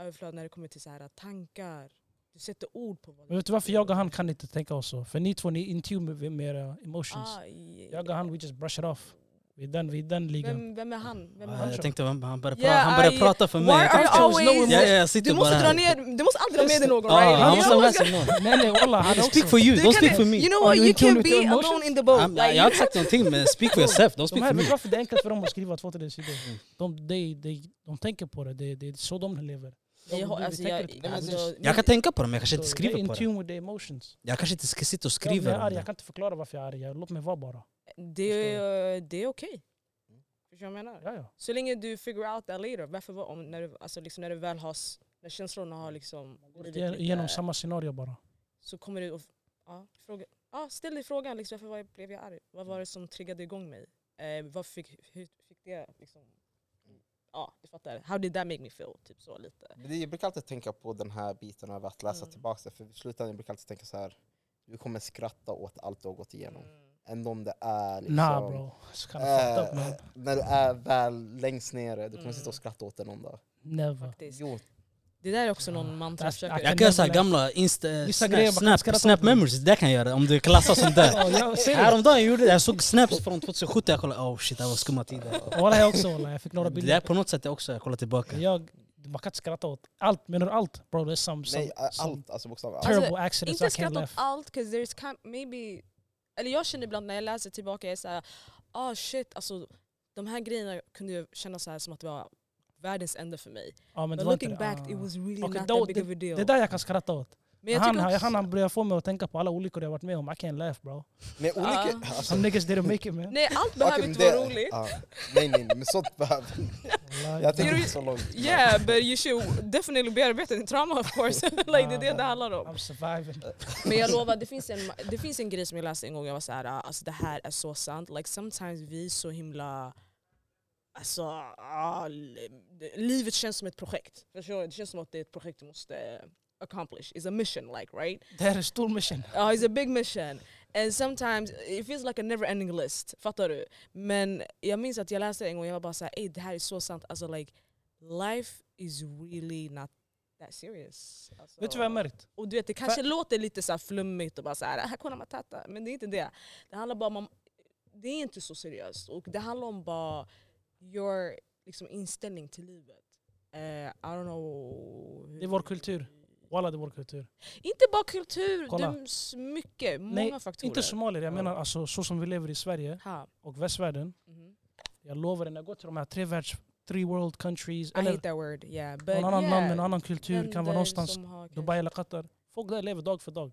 överflöd när det kommer till så här, tankar. Du sätter ord på vad
Men vet du varför jag och han kan inte tänka oss så? För ni två, ni är in tune med- med era eh, emotions.
Ah, i-
Jag och han, we just brush it off. Vi är den, vi är den ligan. [LAUGHS]
vem, vem är han? Vem är
Ja,
han?
Jag tänkte han han började
Yeah,
prata, han började
I-
prata för
Why
mig. Jag
are you
tänkte-
always...
Ja, ja, jag sitter
Du
bara
måste dra
här.
ner, du måste aldrig dra ner dig någon
Ja,
right?
han
You
måste
know
ha med
what's
sig någon.
Nej nej wallah,
[LAUGHS]
han också.
Speak for you,
Du
don't
kan-
speak for me.
You know
Om
what,
du
you
inte gjorde
can
det
be
till emotions-
alone in the boat.
I'm- Jag har inte sagt någonting men speak for yourself,
De
don't speak
här,
for
vet du
me.
varför det är enkelt för dem att skriva två till den
[LAUGHS]
sidor? De, de, de, de tänker på det, det det är så de lever. De,
Jag, har-
vi
alltså,
tänker
jag,
inte på det.
alltså,
Jag kan tänka på det men jag kanske inte
Så
skriver
jag är
på
in
det.
tune with the emotions.
Jag kanske inte ska sitta och
jag,
skriva
är
om
arg, jag
det.
kan inte förklara varför jag är arg, Jag- låt mig vara bara.
det, är- det är okej. Förstår du vad jag menar?
Ja, ja.
Så länge du figure out that later. Varför var, om, när, du, alltså, liksom, när du väl har, s- när känslorna har liksom
Gen-
lite,
Genom samma scenario bara.
så kommer du och, ja, fråga, ja, ställ dig frågan liksom, varför var jag, blev jag arg? Vad var det som triggade igång mig? Eh, vad fick, hur fick det liksom, ja du fattar. How did that make me feel? Typ så lite.
Men det- Jag brukar alltid tänka på den här biten av att läsa
Mm.
tillbaka det, för i slutändan jag brukar alltid tänka så här. du kommer skratta åt allt du har gått igenom.
Mm.
Ändå om det är liksom,
Nah bro, it's kinda fucked up man.
eh, när du är väl längst nere, du kommer
Mm.
sitta och skratta åt det någon dag. [LAUGHS]
Never.
Faktiskt.
Jo,
Det där är också någon mantra jag
Fast-
försöker...
Jag kan göra såhär gamla insta,
Vissa grejer
snap,
man kan
snap,
skratta
snap
åt det.
memories, det kan jag göra om det klassas som det.
[LAUGHS] Ja, jag ser det.
Häromdagen gjorde jag det,
[LAUGHS]
jag såg snaps från 2017, jag kollade oh shit det här var skumma tider.
Wallah jag också wallah, jag
[LAUGHS]
fick några
Det där
bilder.
på något sätt är också, jag kollar tillbaka.
Jag, man kan inte skratta åt allt, menar du allt? Bro det är some, some,
nej, eh,
some
allt, alltså bokstavligen allt.
terrible
Alltså,
accidents I
Inte
can't
skratta åt
laugh.
allt, 'cause there's kind, maybe... Eller jag känner ibland när jag läser tillbaka, jag är såhär, ah shit alltså de här grejerna kunde jag känna så här som att det var världens ände för mig.
Ja, men
Men
det var inte
looking
det.
back
Ah.
it was really
Okej,
not
då-
that big of a deal.
Det är där jag kan skratta åt.
Men jag
han,
tycker
han,
också,
han, han börjar få mig att tänka på alla olyckor jag varit med om. I can't laugh bro.
Nej, olika...
Ja.
Alltså,
Some niggas didn't make
[LAUGHS]
it man.
nej allt
okej,
behöver
men
inte vara roligt.
ja. nej, nej, nej, men sånt [LAUGHS] behöver...
Wallahi.
Jag tänker
You're-
inte så långt.
Yeah but you should definitely bearbeta din trauma of course. [LAUGHS] like, det är det det handlar om.
I'm surviving.
Men jag lovar, det finns, en, det finns en grej som jag läste en gång, jag var såhär, ah, alltså det här är så sant. Like sometimes vi är så himla... Alltså, ah, li- livet känns som ett projekt. Förstår du? Det känns som att det är ett projekt du måste eh, accomplish. It's a mission like, right?
Det här är en stor mission.
Ja, it's a big mission. And sometimes it feels like a never ending list. Fattar du? Men jag minns att jag läste en gång och jag var bara såhär, ey det här är så sant. Alltså like, life is really not that serious. Alltså-
Vet du vad jag märkt?
och du vet, det kanske
För-
låter lite så här flummigt och bara så här, här kollar man tata. Men det är inte det. Det handlar bara om, om- det är inte så seriöst. Och det handlar om bara your liksom, inställning till livet. Eh, I don't know. hur-
Det är vår kultur. Walla det är vår kultur.
Inte bara kultur,
Kolla.
det är s- mycket, många
Nej,
faktorer.
Inte somalier, jag
Ja.
menar alltså, så som vi lever i Sverige
Ha.
och västvärlden.
mhm.
Jag lovar, när jag går till de här tre världs... Three world countries,
I
eller
hate that word. Yeah. But
någon annan
yeah,
land med en annan kultur, kan
länder
vara någonstans
som har kanske-
Dubai eller Qatar. Folk där lever dag för dag.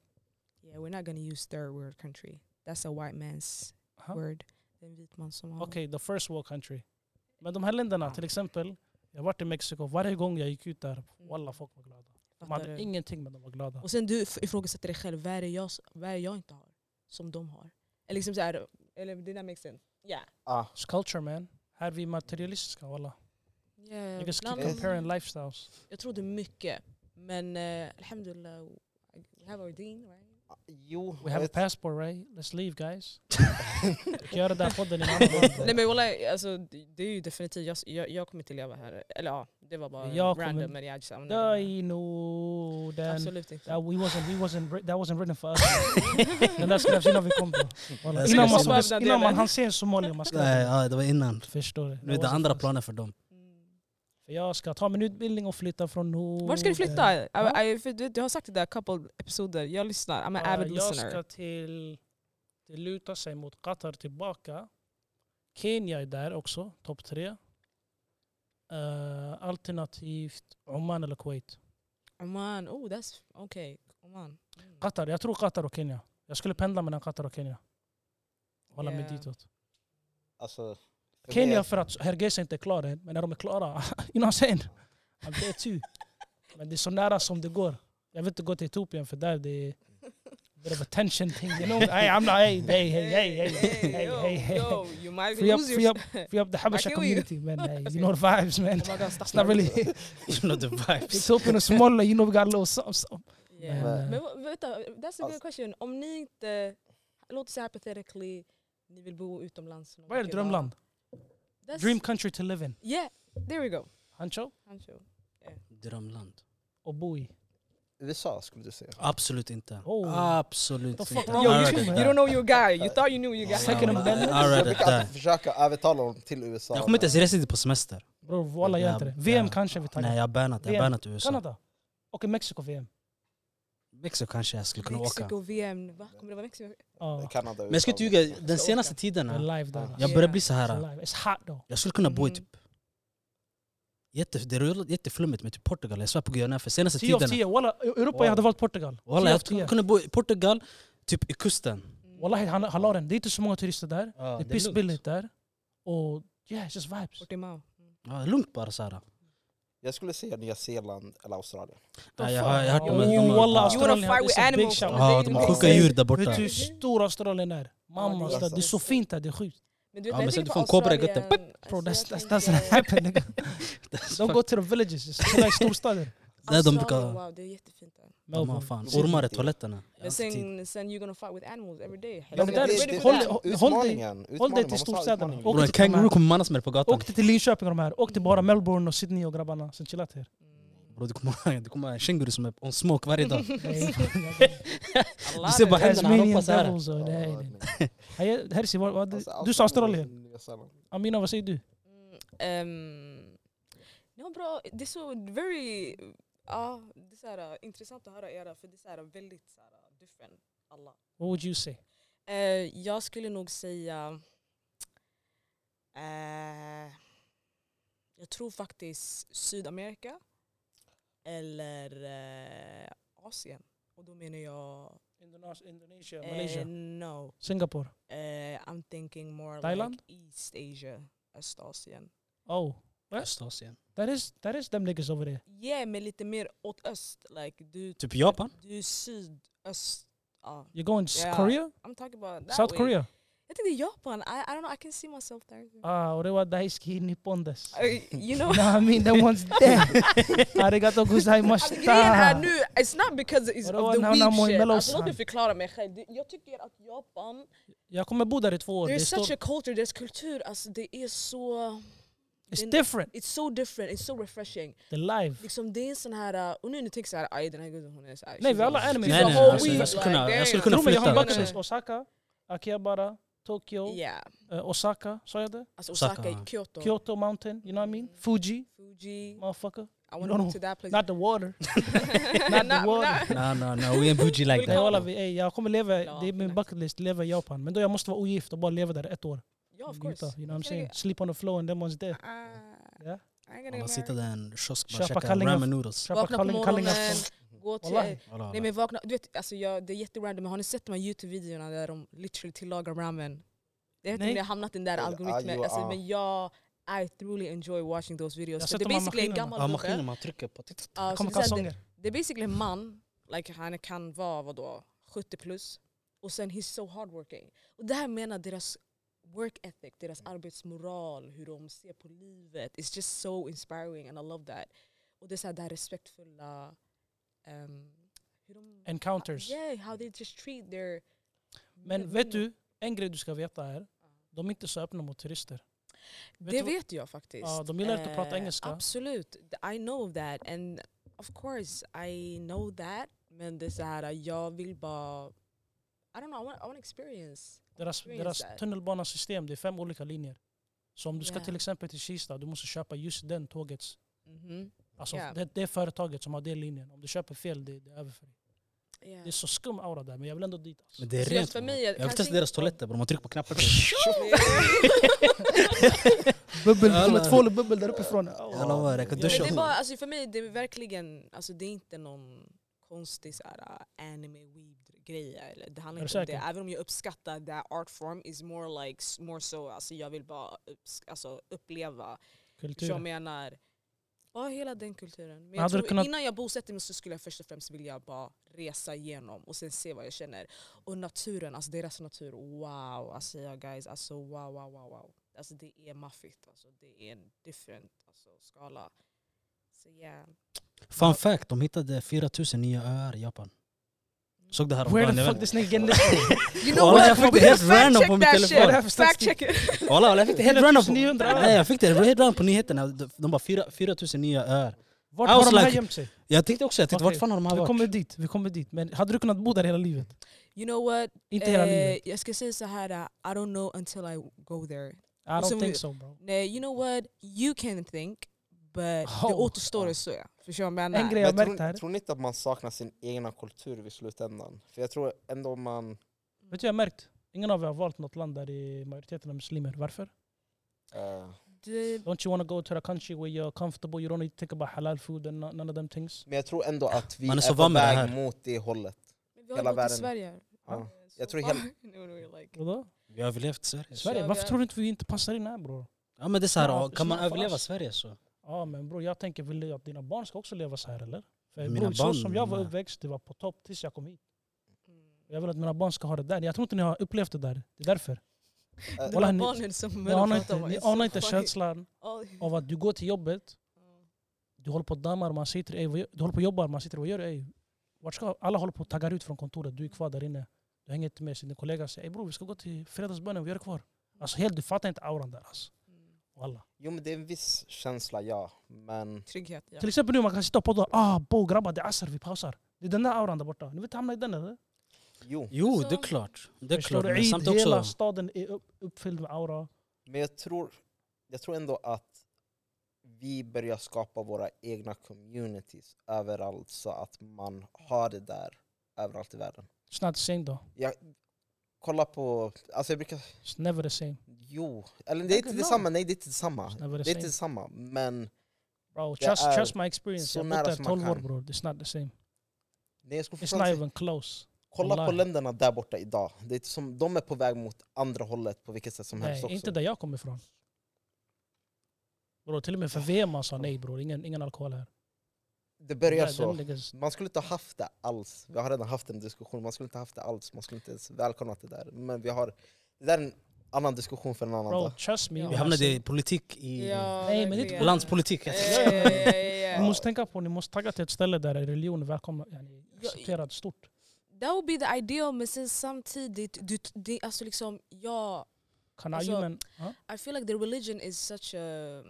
Yeah, we're not gonna use third world country. That's a white man's
Aha.
word. Det är en vit man som har...
Okej, the first world country. Men de här länderna, till exempel, jag har varit i Mexiko, varje gång jag gick ut där, walla folk var glada. De
Mm. Fattar du?
hade ingenting men de var glada.
Och sen du f- ifrågasätter dig själv, vad är det jag, s- vad är det jag inte har? Som de har. Eller liksom såhär, eller det där makes sense. Yeah.
Ah,
It's culture man. Här är vi materialistiska walla.
yeah.
Niggas keep
bland
Yes.
dem-
comparing lifestyles.
jag trodde mycket, men uh, alhamdulillah, we have our deen right?
jo,
We have a
vet-
passport right? Let's leave guys. Gör det där podden i en annan
Nej
land.
men wallah, alltså, det det är ju definitivt, jag, s- jag, jag kommer inte leva här. Eller ja, det var bara
Jag kommer-
random. Men jag just, I'm not gonna-
Die no den.
Absolut inte.
That Uh, we wasn't, we wasn't, writ- that wasn't written for us. Den där skrevs innan vi kom då. Walla.
[LAUGHS] Jag
Innan
ska-
man,
ska-
såg- innan man hann se en somalier man skrev
Nej,
den.
ja, det var innan.
Förstår du?
Nu är
That
det
wasn't
andra
for us.
planer för dem. [LAUGHS]
Mm.
För Jag ska ta min utbildning och flytta från Norden.
Vart ska du flytta? I,
Ja.
I, för du, du har sagt det där couple episoder, jag lyssnar. I'm an avid
Eh, jag
listener.
ska till, det lutar sig mot Qatar tillbaka. Kenya är där också, topp tre. Eh, alternativt Oman eller Kuwait.
Oman, oh that's, okej. Oman. Mm.
Qatar, jag tror Qatar och Kenya. Jag skulle pendla mellan Qatar och Kenya. Hålla mig
Yeah.
ditåt.
Alltså, för mig
Kenya
är-
för att Hergesa inte är klar än, men när de är klara, [LAUGHS] you know what I'm saying? I'm there too. Men det är så nära som det går. Jag vill inte gå till Etiopien för där det är bit of a tension thing. You know? hey, I'm not, hey, hey, hey, hey, hey, hey, hey, hey.
yo, yo, you might
Free up,
lose
free
your...
up, free up the
kill
Habesha
you.
community, man. Hey, you know the vibes, man.
Oh my god,
It's not really [LAUGHS]
You know the typ vibes.
Ethiopian och Somalia, you know we got a little something. something.
yeah.
Men-
Men vad- vänta, that's a good
Alltså-
question. Om ni inte, låt oss säga hypothetically, ni vill bo utomlands. någon
Vad är det
vacker dag.
drömland?
That's-
Dream country to live in.
Yeah, there we go.
Hancho
Hancho.
Drömland.
och bo i.
USA skulle du säga.
Absolut inte.
Oh.
Absolut
The fuck
inte.
wrong
Yo,
with
I
you,
read
man?
You
it
don't
there.
know your guy, you thought you knew your guy.
Second
I
amendment.
read
Jag
[LAUGHS]
it
brukar
there.
alltid försöka övertala honom till USA.
Jag kommer inte ens resa dit på semester.
Bror walla gör inte det. VM
Ja.
kanske vi taggar.
Nej, jag har bannat. Jag har
VM.
bannat USA.
Kanada? Okej, Mexiko-VM.
Mexiko kanske jag skulle kunna åka.
Mexiko VM, va? Kommer det vara Mm. Mexiko?
Ja,
Kanada,
Men jag ska inte
USA.
ljuga, den senaste tiden
det är
här,
Oh, live där.
Ja.
alltså.
jag börjar bli så
Det är
här.
live. It's hot though.
Jag skulle kunna bo i
Mm.
Mhm.
typ... Jätte, det är jätteflummigt med typ Portugal, jag svär på gud. jag är nära, För senaste
10 av
tiden...
10. Walla, Europa
Wow.
jag hade valt Portugal. 10
Walla,
av
jag skulle
10.
kunna bo i Portugal, typ i kusten.
Wallahi, han, han la den. Det är inte så många turister där.
Ja,
det är pissbilligt där. Och yeah, it's just vibes.
Portimao.
Ja, lugnt bara såhär.
Jag skulle säga Nya Zeeland eller Australien.
Ja, jag har jag har hört
Oh,
de är- de
You
walla,
är-
wanna
Australien,
fight
it's
with
a big
animals
shout.
from the
Ja,
day
de
you
har
make
sjuka
sense.
djur där
Vet
borta. alltså.
du hur stor Australien är? Mamma, alltså,
det är
det, det är
sant.
så fint där, det är sjukt.
[LAUGHS]
Men du
Ja,
vet,
men
jag
sen
tänker
du
på
får en kobra i gutten.
Australien.
Bro, that's,
Alltså, jag
that's, that's
tänker- Alltså,
not happen. nigga. De går till the villages, just
[LAUGHS]
chilla i storstäder.
Det är de
Australien,
brukar...
Wow, det är jättefint där.
De har
Melbourne.
fan
Melbourne.
ormar i typ. toiletterna. Jag har
Men
inte tid.
sen, sen you're gonna fight with animals every day.
alltså, Ja, men
Hello.
där-
Ready
det-
for
håll-
that?
håll dig-
utmaningen.
håll dig till
Utmaningen, man måste ha
storstäderna.
utmaningen.
Och-
Bror, En kanguru kommer manas med dig på gatan.
Åkte till Linköping och de här, åkte bara Melbourne och Sydney och grabbarna, sen chilla till er.
Mm.
Bror, det kommer- [LAUGHS] det kommer en känguru som är on smoke varje dag.
[LAUGHS] Nej.
A lot
Du ser
of
bara
them.
händerna, han
Tasmanian
hoppar såhär.
devils och det
Ja,
här.
men-
Hej, Herzi, vad- vad-
alltså,
du sa Australien.
Nya Zeeland.
Amina, vad säger du?
Mm, Ehm, Ja bra, det är så very... Ja, det är så här, eh, intressant att höra era för det är så här, eh, väldigt så här, different. Alla.
What would you say?
Eh, jag skulle nog säga... eh, jag tror faktiskt Sydamerika eller eh, Asien. Och då menar jag...
Indonesia, Indonesia
Eh,
Malaysia,
no.
Singapore.
Eh, I'm thinking more
Thailand?
like East Asia, Östasien.
Oh,
Östasien.
that is, that is them niggas over there.
Yeah, men lite mer åt öst. Like, du,
Typ Japan?
du är sydöst. Ja,
You're going to
Yeah.
Korea?
I'm talking about that
South
way.
Korea?
Jag tänkte Japan. I, I don't know, I can see myself
[LAUGHS]
there.
Ah, orewa daiski
[LAUGHS]
nippon desu.
Uh, you
[LAUGHS]
know,
Nah, I mean that
[LAUGHS]
one's dead. Arigato
alltså, grejen är
[LAUGHS] gozaimashita.
nu, it's not because it's
Vadå,
of the
när han har
weeb
Moe
shit.
Mello
Alltså, låt mig
sant?
förklara mig själv. Det- Jag tycker att Japan,
Jag kommer bo där i två år. Det
there's
är stor-
such a culture, deras kultur, alltså det är så...
It's
in-
different.
It's so different, it's so refreshing.
The live.
Liksom det är en sån här, och nu ni tänker såhär, aj den här guden hon är såhär...
Nej, vi alla är anime.
She's
Nej,
a
nej,
whole
alltså, jag
weeb,
skulle kunna-
like,
jag skulle
damn.
kunna
Tro mig, jag har
flytta.
bakgrund. Osaka, Akihabara, Tokyo,
Yeah.
eh, Osaka, sa jag det?
Alltså Osaka,
Osaka.
i Kyoto.
Kyoto mountain, you know what I
Mm.
mean? Fuji,
Fuji.
motherfucker.
I
You
wanna go
don't know.
to that place. [LAUGHS]
Not the water.
Not- not-
water.
No, no, no. We ain't bougie
[LAUGHS]
like
Nej, walla,
that.
vi, ey, jag kommer leva,
Ja,
det är min
nice.
bucket list, leva i Japan. Men då jag måste vara ogift och bara leva där ett år.
Yeah, of
Njuta,
course.
you know what I'm
Okay,
saying?
okay.
Sleep on the floor and them one's there.
Ah,
Yeah.
I ain't gonna
Alla
get
sitter
married.
där i en kiosk
Köpa
bara käka
kallingar.
ramen noodles.
Köpa
Vakna på
kalling,
morgonen, eh, alltså,
kallingar.
gå till...
Wallahi.
Walla,
Nej
walla.
men vakna, du vet, alltså jag, det är jätterandom, men har ni sett de här youtube-videorna där de literally tillagar ramen? Jag vet inte
Nej.
om ni har hamnat i den där
Ja,
algoritmen,
jo,
alltså,
ja.
men jag I truly enjoy watching those
Jag har
videos.
sett
För Det
de
är
här
basically en
maskinerna.
Ja,
gammal
maskiner
gubbe.
man trycker på.
Ja, så
Kommer
det är så här, det-
kalsonger.
Det är basically en man, like, han kan vara vadå, 70 plus, och sen he's so hardworking. Och det här menar deras work ethic, deras arbetsmoral, hur de ser på livet. It's just so inspiring and I love that. Och det är så här, det här respektfulla, ehm, hur de
Encounters.
Yeah, how they just treat their...
Men vet du, en grej du ska veta är,
Ah.
de är inte så öppna mot turister.
Det vet,
Vet du vad-
jag faktiskt.
Ja, de gillar inte att prata
Eh,
engelska.
Absolut, I know that. And of course I know that. Men det är så här, jag vill bara... I don't know, I want, I want experience.
Deras,
Experience
deras
där.
tunnelbanesystem, det är fem olika linjer. Så om du ska
Yeah.
till exempel till Kista, du måste köpa just den tågets...
Mhm.
Alltså
Yeah.
det, det företaget som har den linjen. Om du köper fel, det, det är över för dig.
Yeah.
Det är så skum aura där, men jag vill ändå dit. Alltså.
Men det är
Så jag-
rent.
för
man.
mig är-
Jag vill
kanske
testa deras
inte-
toaletter bror. Man trycker på
[LAUGHS]
knappen.
Bubbel,
det kommer ett
tvål och bubbel där uppifrån.
Jag lovar, jag
[LAUGHS] Men
kan
det
duscha.
är bara, alltså för mig det är verkligen, alltså det är inte någon konstig så här, uh, anime weeb grej. eller- Det handlar
Är du
inte om det.
säker?
Även om jag uppskattar det här art form is more like, s- more so, alltså jag vill bara upps- alltså, uppleva Kultur. Jag
Kultur.
menar, ja hela den kulturen. Men jag
hade du
tror,
kunnat-
Innan jag bosätter mig så skulle jag först och främst vilja bara resa igenom och sen se vad jag känner. Och naturen, alltså deras natur, wow! Alltså jag guys, alltså wow wow wow wow. Alltså det är maffigt, alltså det är en different alltså, skala. Så yeah.
Fun fact, de hittade 4000 nya öar i Japan. Såg det här om
Where
dagen.
the
jag
fuck
vet-
this nigga getting this
[LAUGHS]
from?
You
know Walla, what? jag
[LAUGHS]
fick det helt random på min telefon.
Vad är det här för
Fact
statistik?
check it!
Walla, walla, jag fick det helt random. på-
1900 öar.
Nej, jag fick det helt random på nyheterna. De- De bara 4 4000 nya öar.
Vart
I
har
was
de här
like-
gömt sig?
Jag tänkte också, jag tänkte
Okej,
vart fan har de här
Vi
varit?
kommer dit, vi kommer dit. Men hade du kunnat bo där hela livet?
You know what?
Inte hela livet.
Eh, jag ska säga så här, uh, I don't know until I go there.
I don't
som
think
vi-
so bro.
Nej, you know what? You can think, but det
Oh,
återstår
ja.
att se. Förstår du vad jag
En
menar?
grej jag
Men
märkt här,
tror, tror ni inte att man saknar sin egna kultur vid slutändan? För jag tror ändå man...
vet du jag har märkt? Ingen av er har valt något land där det är majoriteten av muslimer. Varför?
eh,
Det-
Don't you want to go to a country where you're comfortable, you don't need to think about halal food and no- none of them things?
men jag tror ändå att vi
Man är så
är, på
van med det
väg
här.
mot det hållet.
Men vi har
Hela
ju bott i
världen.
Sverige. Mm.
Ja.
Så
Jag tror
far-
hela-
[LAUGHS] nu är det like-
Vadå?
Vi har överlevt Sverige.
Sverige,
vi
varför
är-
tror du inte vi inte passar in här bror?
Ja men det är så här,
Ja,
ja, kan man
snälla, för
överleva
oss.
Sverige så?
Ja men bror jag tänker väl att dina barn ska också leva så här eller? För
Mina
bror, så
barn,
som jag var
nej.
uppväxt, det var på topp tills jag kom hit.
Mm.
Jag vill att mina barn ska ha det där. Jag tror inte ni har upplevt det där. Det är därför.
Eh,
Det
Walla,
var
ni-
barnen som
Ni anar
pratar
inte,
om
ni
är så
anar inte
funny.
känslan
Ja.
av att du går till jobbet, du håller på och dammar, man sitter, ey, vad gör- du håller på och jobbar, man sitter, vad gör du? Ey, vart ska, alla håller på och taggar ut från kontoret, du är kvar där inne. Du hänger inte med, så din kollega säger ey bror vi ska gå till fredagsbönen, vad gör du kvar? Alltså helt, du fattar inte auran där alltså.
Mm.
Wallah.
Jo men det är en viss känsla, ja. Men
Trygghet ja.
Till exempel nu man kan sitta och podda, ah bo grabbar det är asr, vi pausar. Det är den där auran där borta, ni vill inte hamna i den eller?
jo.
Jo,
Så-
det är klart. Det är
Förstår
klart,
du?
men
Eid,
samtidigt
Hela
också...
staden är upp, uppfylld med aura.
Men jag tror, jag tror ändå att vi börjar skapa våra egna communities överallt så att man har det där överallt i världen.
It's not the same då.
Jag, kolla på, alltså jag brukar,
It's never the same.
jo, eller det är inte
Verkligen.
detsamma, nej det är inte detsamma.
It's never the
Det är inte
same.
detsamma, men
Bro,
Det
trust,
är
trust my experience.
så
Jag har
nära
bott där
som man
12 år
kan.
bror, it's not the same.
Nej, jag skulle
It's not
fortfarande säga,
even close.
kolla på
wallahi.
länderna där borta idag. Det är som, de är på väg mot andra hållet på vilket sätt som helst
Nej,
också.
inte där jag kommer ifrån. Bro, till och med för VM man sa nej bror, ingen, ingen alkohol här.
Det börjar
Där-
så.
den ligger-
Man skulle inte ha haft det alls. Vi har redan haft en diskussion. Man skulle inte ha haft det alls. Man skulle inte ens välkomna det där. Men vi har... Det där är en annan diskussion för en annan
Bro,
dag.
trust me.
Ja.
Vi
when I
hamnade
say-
i politik, i
Nej, men det är
verkligen.
inte-
landspolitik.
Ja,
alltså.
ja, ja, ja, ja.
Ni måste tänka på, ni måste tagga till ett ställe där religion är välkomna, yani, accepterad stort.
That would be the ideal men sen samtidigt, du, det, alltså liksom, jag...
Kan
Alltså-
argumen... Ja?
I feel like the religion is such a...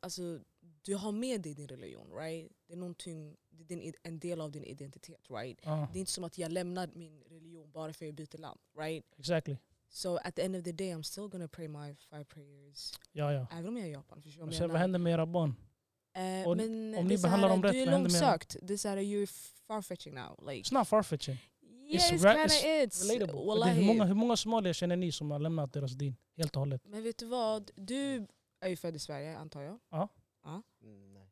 Alltså, du har med dig din religion, right? Det är någonting, det är din, id- en del av din identitet, right?
Ja,
Det är inte som att jag lämnar min religion bara för att jag byter land, right?
exactly.
So at the end of the day I'm still gonna pray my five prayers.
Ja, ja.
Även om jag är i Japan, förstår du
Och
vad
sen
jag
vad händer med era barn?
Eh,
Och
men
om
det
ni
är så
behandlar
här,
dem rätt,
Du är
vad händer med dem?
långsökt. Det är såhär, you're far-fetching now. Like,
It's not far-fetching.
yeah, it's,
ra-
kinda
it's
it's.
Relatable. Det är
Wallahi.
hur, många, hur många somalier känner ni som har lämnat deras din helt och hållet?
Men vet du vad? Du är ju född i Sverige antar jag.
Mm, nej.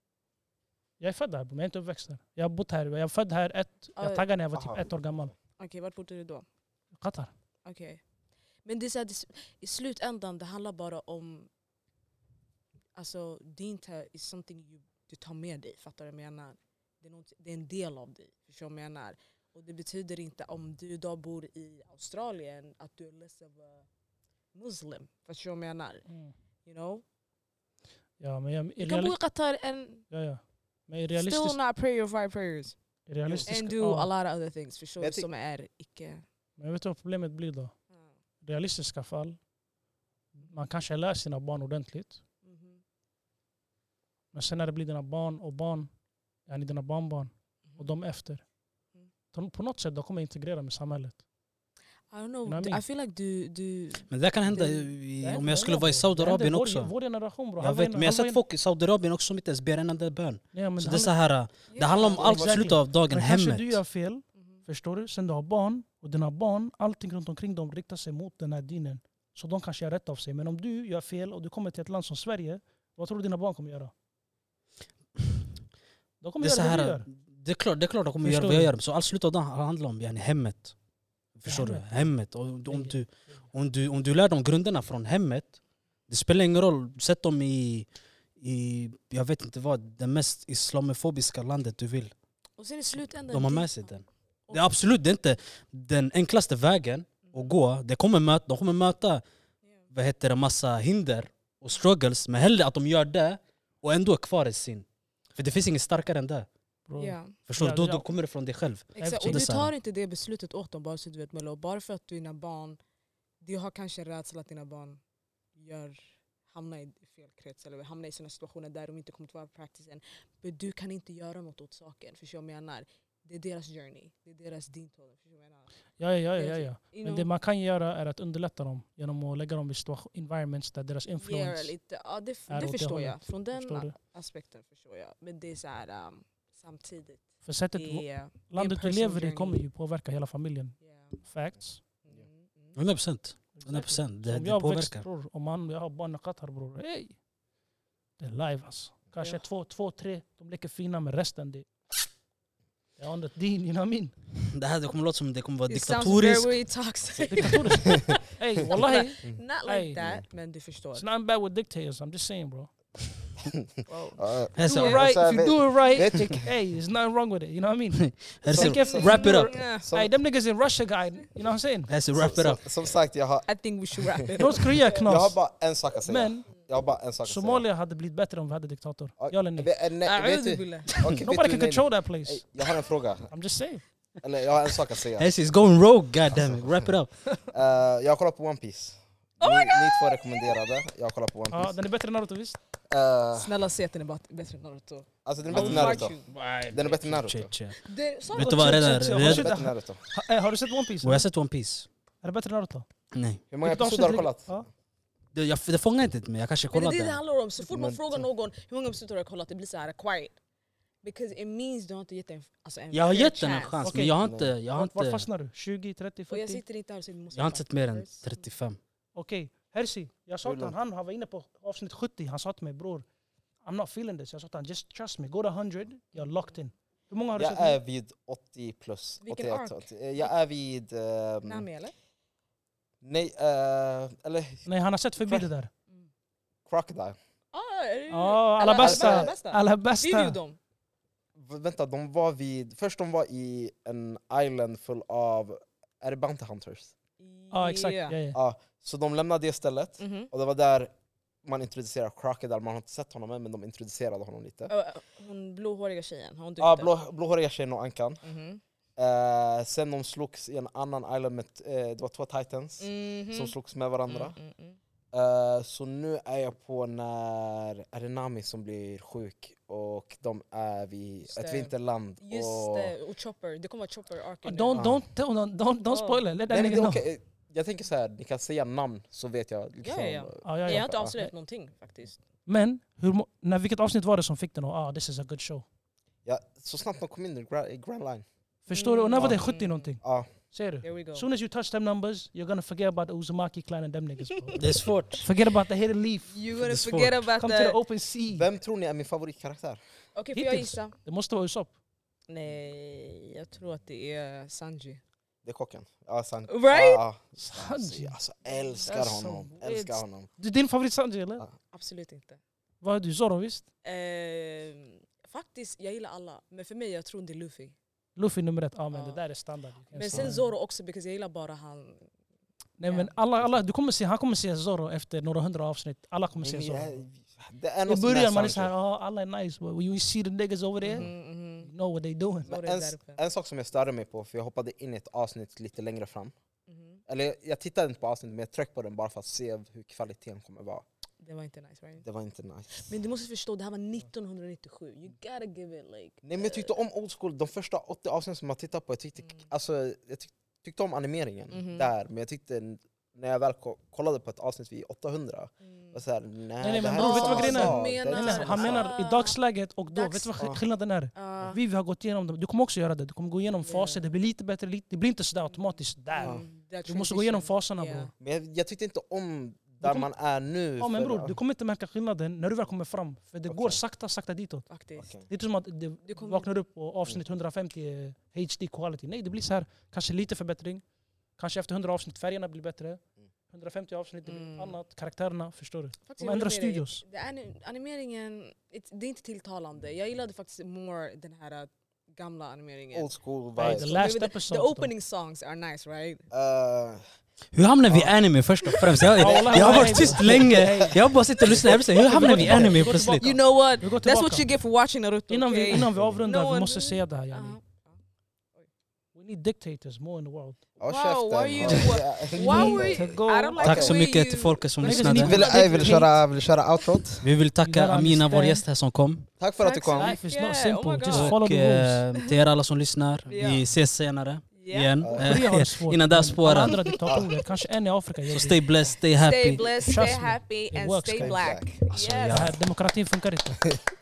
Jag är född här, men jag är inte uppväxt här. Jag har bott här, jag är född här ett, jag taggade när jag var
Aha.
typ ett år gammal.
Ah, Okej, vart bodde du då?
Qatar.
Okej. Men det är så här, det, i slutändan det handlar bara om... Alltså din te is something you, du tar med dig, fattar du vad jag menar? Det är, något, det är en del av dig, förstår du vad jag menar? Och det betyder inte om du idag bor i Australien att du är less of a muslim, förstår du vad jag menar? You know?
Ja, men jag, i
Mm. Du kan bo i
reali-
Qatar and
ja, ja. Men i
still
realistisk,
not pray your five prayers.
i realistisk,
And do a
ja.
lot of other things, förstår
Men
du?
jag tyck-
Som är icke... Mm.
Men vet du vad problemet blir då? Realistiska fall, man kanske lär sina barn ordentligt.
Mhm.
Men sen när det blir dina barn och barn, yani dina barnbarn och de efter.
Mm.
De, på något sätt de kommer integrera med samhället.
I don't
You know
know,
what I
d-
mean?
I feel like du... du
Men det där kan hända
Det-
i-
Det
om
händer
jag skulle
många
vara
bro. Det
i Saudiarabien
händer Vår,
också.
vår generation bror.
Jag
Han var
vet,
inne-
men jag
han var
har sett
inne-
folk i Saudiarabien också som inte ens ber en enda bön.
Nej, men
Så
det
det, är så
handlar-
här, det handlar om
Ja.
allt
Verkligen.
slutet av dagen,
men kanske du
hemmet.
gör fel,
Mhm.
förstår du? Sen du har barn, och dina barn, allting runt omkring dem riktar sig mot den här dinen. Så de kanske gör rätt av sig. Men om du gör fel och du kommer till ett land som Sverige, vad tror du dina barn kommer göra? De kommer
Det är, så
göra det du
här,
gör.
det är klart, det är klart de kommer
Förstår
göra vad jag
du?
gör. Så allt slutet av dagen handlar om yani, hemmet. Förstår du?
Hemmet.
Hemmet. Och om, du, om, du, om du lär dem grunderna från hemmet, det spelar ingen roll. Sätt dem i, i jag vet inte vad, det mest islamofobiska landet du vill.
Och sen i slutändan...
De har
det-
med sig den. Det är absolut det är inte den enklaste vägen att gå. Det kommer möta, de kommer möta vad heter det, massa hinder och struggles. Men hellre att de gör det och ändå är kvar i sin. För det finns inget starkare än det.
Bro,
Ja,
Förstår du?
Ja,
Då,
ja.
då kommer det från dig själv.
exakt.
Så
Och
det är
du
så här.
tar inte det beslutet åt dem bara så du vet Melo. Bara för att dina barn... Du har kanske en rädsla att dina barn gör, hamnar i fel krets eller hamnar i sådana situationer där de inte kommer att vara practice än. Men du kan inte göra något åt saken, förstår du vad jag menar? Det är deras journey, det är deras din tåg, förstår du vad jag menar?
Ja, ja, ja, ja, ja.
You
Men
know?
det man kan göra är att underlätta dem genom att lägga dem i situation, environments där deras
Yeah,
influence...
lite. Ja, det, f-
är åt
det
det
förstår jag.
hållet.
Från den
Förstår du?
aspekten förstår jag. Men det är så här um, samtidigt.
För
Typ
sättet,
Det är,
landet du
personal
lever i
journey.
kommer ju påverka hela familjen.
yeah.
Facts.
mm, mm.
100 procent. 100 procent. Det,
Om
det
jag växer
påverkar.
bror, om han, jag har barn i Qatar bror, hey. Det är live alltså. Kanske
Ja.
två, två, tre, de leker fina men resten det... Jag undrar din, you know what I
[LAUGHS]
mean?
Det här det kommer låta som det kommer vara
It sounds
diktatoriskt.
very
[LAUGHS]
toxic. [LAUGHS]
Diktatoriskt. Ey wallahi,
Not like
Hey.
that, men du förstår.
it's not bad with dictators, I'm just saying bro.
Wow.
Ja, ja.
Här
Do it
ser-
right, if you do it right,
vet du-
hey, there's nothing wrong with it, you know what I mean? [LAUGHS]
här ser-
Tänk efter.
Wrap it up.
Mm. Yeah.
som,
Hey, them niggas in Russia guy, you know what I'm [LAUGHS] saying?
Här ser
som,
wrap it
som,
up.
som sagt, jag har,
I think we should wrap
[LAUGHS]
it up.
North Korea
jag har
knas.
bara en sak att säga.
Men
jag har bara en sak att
Somalia hade blivit bättre om vi hade diktator.
säga.
Ja eller nej?
Vet, nej, vet
A'udhu
du,
billah.
okay, vet
Nobody
du,
Uh, can
nej,
control that place.
nej. Jag har en fråga,
I'm just saying.
eller jag har en sak att säga.
Här ser it's going rogue, god damn it. Wrap it up.
Eh, jag har kollat på One Piece.
Oh my
ni,
God!
ni två rekommenderade, jag har kollat på One
Ja,
Piece.
den är bättre än Naruto visst?
Eh,
Snälla säg att den är bat- bättre än Naruto.
alltså den är
I
bättre
will
än
fight
Naruto.
you.
Den är bättre än Naruto.
Shit, shit.
Det- så-
Vet du vad, redan...
Shit, shit,
Den
shit.
är
redan-
bättre än Naruto.
Ha, eh, har du sett One Piece?
Och jag har sett One Piece.
Är det bättre än Naruto?
Nej.
Hur många
Vilket avsnitt
episoder har du
ligger-
kollat?
Ja.
Det, jag, det fångar inte mig, jag kanske
Men det är
kollade.
det det handlar om. Så fort man
Men-
frågar någon hur många episoder har jag kollat, det blir såhär quiet. Because it means du har inte gett den alltså en
Jag har
fair
gett den en
chance.
chans,
Okej.
men jag har inte... Jag har
Vart, vart
inte,
fastnar du? 20, 30,
Och jag
40?
sitter inte här och säger du måste
jag har inte
bara-
sett mer än 35.
Okej, Hersi. Jag sa
Hur
till honom, han han var inne på avsnitt 70, han sa till mig bror I'm not feeling this. Jag sa till honom, just trust me, go to 100, you're locked in. Hur många har du sett
Jag
nu?
är vid 80 plus.
Vilken
81,
arc?
80. Eh, Jag är vid... ehm,
Nami eller?
nej, eh, eller
Nej, han har sett förbi
För-
det där.
Crocodile.
Ah, är det-
Ja, alla bästa!
bästa.
Alla
Vi är ju
bästa!
dem.
V- Vänta, de var vid... Först de var i en island full av... Är det Bounty Hunters?
Ja, exakt.
Yeah.
Ja, ja.
Ja, så de lämnade det stället.
Mhm.
Och det var där man introducerade Crocodile. Man har inte sett honom än, men de introducerade honom lite.
Ö, Hon blåhåriga tjejen, har hon dykt
Ja,
upp?
blå, blåhåriga tjejen och Ankan.
Mhm.
Eh, sen de slogs i en annan island med... t- Eh, det var två titans
Mhm.
som slogs med varandra.
Mm, mm, mm.
Eh, så nu är jag på när är det Nami som blir sjuk och de är vid
Just
ett
det.
vinterland.
Just
och...
det, och Chopper. Det kommer vara Chopper Arkin.
Don't, don't, don't, don't, don't
Ja.
spoil it. Let that
Nej, men det
nigga
är
know.
okej. Jag tänker så här, ni kan säga namn så vet jag. Liksom,
ja.
Ja, ja,
Jag
ja.
har inte avslöjat någonting faktiskt.
Men hur, må- när, vilket avsnitt var det som fick den att ah, this is a good show?
Ja, så snabbt de kom in i Grand, i Grand Line.
Förstår du? Och när var det?
Mm.
70 någonting?
Ja.
Ser du?
Here we go.
As soon as you touch them numbers, you're gonna forget about the Uzumaki clan and them niggas [LAUGHS] bro.
Det är svårt.
Forget about the hidden leaf.
You're
Det är
gonna
svårt.
forget about
Come to the
that. Okej,
open sea.
Vem tror ni är min favoritkaraktär?
får jag
Hittills.
gissa?
Det måste vara Usopp.
Nej, jag tror att det är Sanji.
Det är kocken. Ja, Sanji.
Right?
Ja,
Sanji.
Alltså, älskar
That's so
honom.
weird.
Älskar honom.
Du, din favorit Sanji eller?
Ja.
Absolut inte.
Vad är du? Zoro visst?
Ehm, faktiskt, jag gillar alla. Men för mig, jag tror det är Luffy.
Luffy nummer ett. Ah, men
Ja.
det där är standard.
Men sen Zoro också, because jag gillar bara han.
Nej, men alla, alla, du kommer se, han kommer se Zoro efter några hundra avsnitt. Alla kommer se
Nej,
Zoro.
men jag- Det är
I
något som
början man är
är
såhär,
Sanji.
ah, alla är nice. But when you see the niggas over there,
Mhm, mhm.
you know what they doing.
Zoro
Men
är
en,
där uppe.
en sak som jag störde mig på, för jag hoppade in i ett avsnitt lite längre fram.
Mhm.
Eller jag, jag tittade inte på avsnittet men jag tryckte på den bara för att se hur kvaliteten kommer vara.
Det var inte nice right?
Det var inte nice.
Men du måste förstå, det här var 1997. You gotta give it like...
Nej men jag tyckte om old school, de första 80 avsnitten som jag tittade på, jag tyckte,
Mm.
alltså, jag tyck, tyckte om animeringen
Mhm.
där. Men jag tyckte n- när jag väl ko- kollade på ett avsnitt vid 800,
Mm.
var så här, nej,
nej,
det
men
här
bror,
är
vet du
samma
vad grejen är?
sak.
Du
Det är liksom inte
menar-
samma
Han
sak.
menar i dagsläget och då.
Dags-
Vet du vad
Ja.
sk- skillnaden är?
Ah.
Vi, vi har gått igenom dem. Du kommer också göra det. Du kommer gå igenom
Yeah.
faser. Det blir lite bättre. Lite, det blir inte sådär automatiskt där.
Ja.
Mm, that
Du måste gå igenom
transition.
faserna
Yeah.
bror.
Men jag, jag tyckte inte om där
kom-
man är nu.
Ja men
för-
bror, du kommer inte märka skillnaden när du väl kommer fram. För det går
Okej.
sakta, sakta ditåt.
Faktiskt.
Okej.
Det är inte som att det
Du kommer-
vaknar upp och avsnitt 150 är HD eh, quality. Nej, det blir så här, kanske lite förbättring. Kanske efter 100 avsnitt färgerna blir bättre. 150 avsnitt det blir
Mm.
annat. Karaktärerna, förstår du?
Faktiskt,
De
jag håller
ändrar
med dig.
studios.
Det är- Animeringen, it- det är inte tilltalande. Jag gillade faktiskt more den här äh, gamla animeringen.
Old school
Nej,
vibes.
the
Old-
last
Maybe
episode.
The
då.
opening songs are nice right?
Eh,
Hur hamnar vi i anime först och främst?
[LAUGHS]
Jag,
Ja, wallah,
jag har
nej,
varit tyst
nej.
länge. Jag har bara suttit och lyssnat. Jag vill säga, hur hamnar vi i anime plötsligt?
You know what?
Vi går
That's what
tillbaka.
you get for watching Naruto.
Innan vi,
okay?
innan Mm. vi avrundar,
No
vi
one-
måste säga det här yani.
Ah.
We need dictators more in the world.
ja,
Wow,
käften.
why you-
[LAUGHS] Ja, ja.
Why were
to
you,
go.
I don't like
Tack
the
så
way
mycket
you-
till folket som
Men det är
Jag
ni-
lyssnade.
vill, jag vill köra, vill köra outrot.
Vi vill tacka
Gotta
Amina, vår
understand.
gäst här som kom.
Tack för att du
Tack
kom.
så
Life is not
Yeah,
simple,
oh my
just
God.
follow
Och
the rules.
eh, till er alla som lyssnar,
Ja.
vi ses senare
Yeah.
igen.
Ja.
Eh,
Korea har det svårt.
Innan det här
Alla
spårar.
andra
[LAUGHS]
diktatorer, kanske en i Afrika.
Så
jag vet.
[LAUGHS] stay blessed, stay
Stay
happy.
blessed,
Trust
stay
me,
happy
it
and
works,
stay
guys.
black.
Alltså,
Det
Yes.
här- Demokratin funkar inte.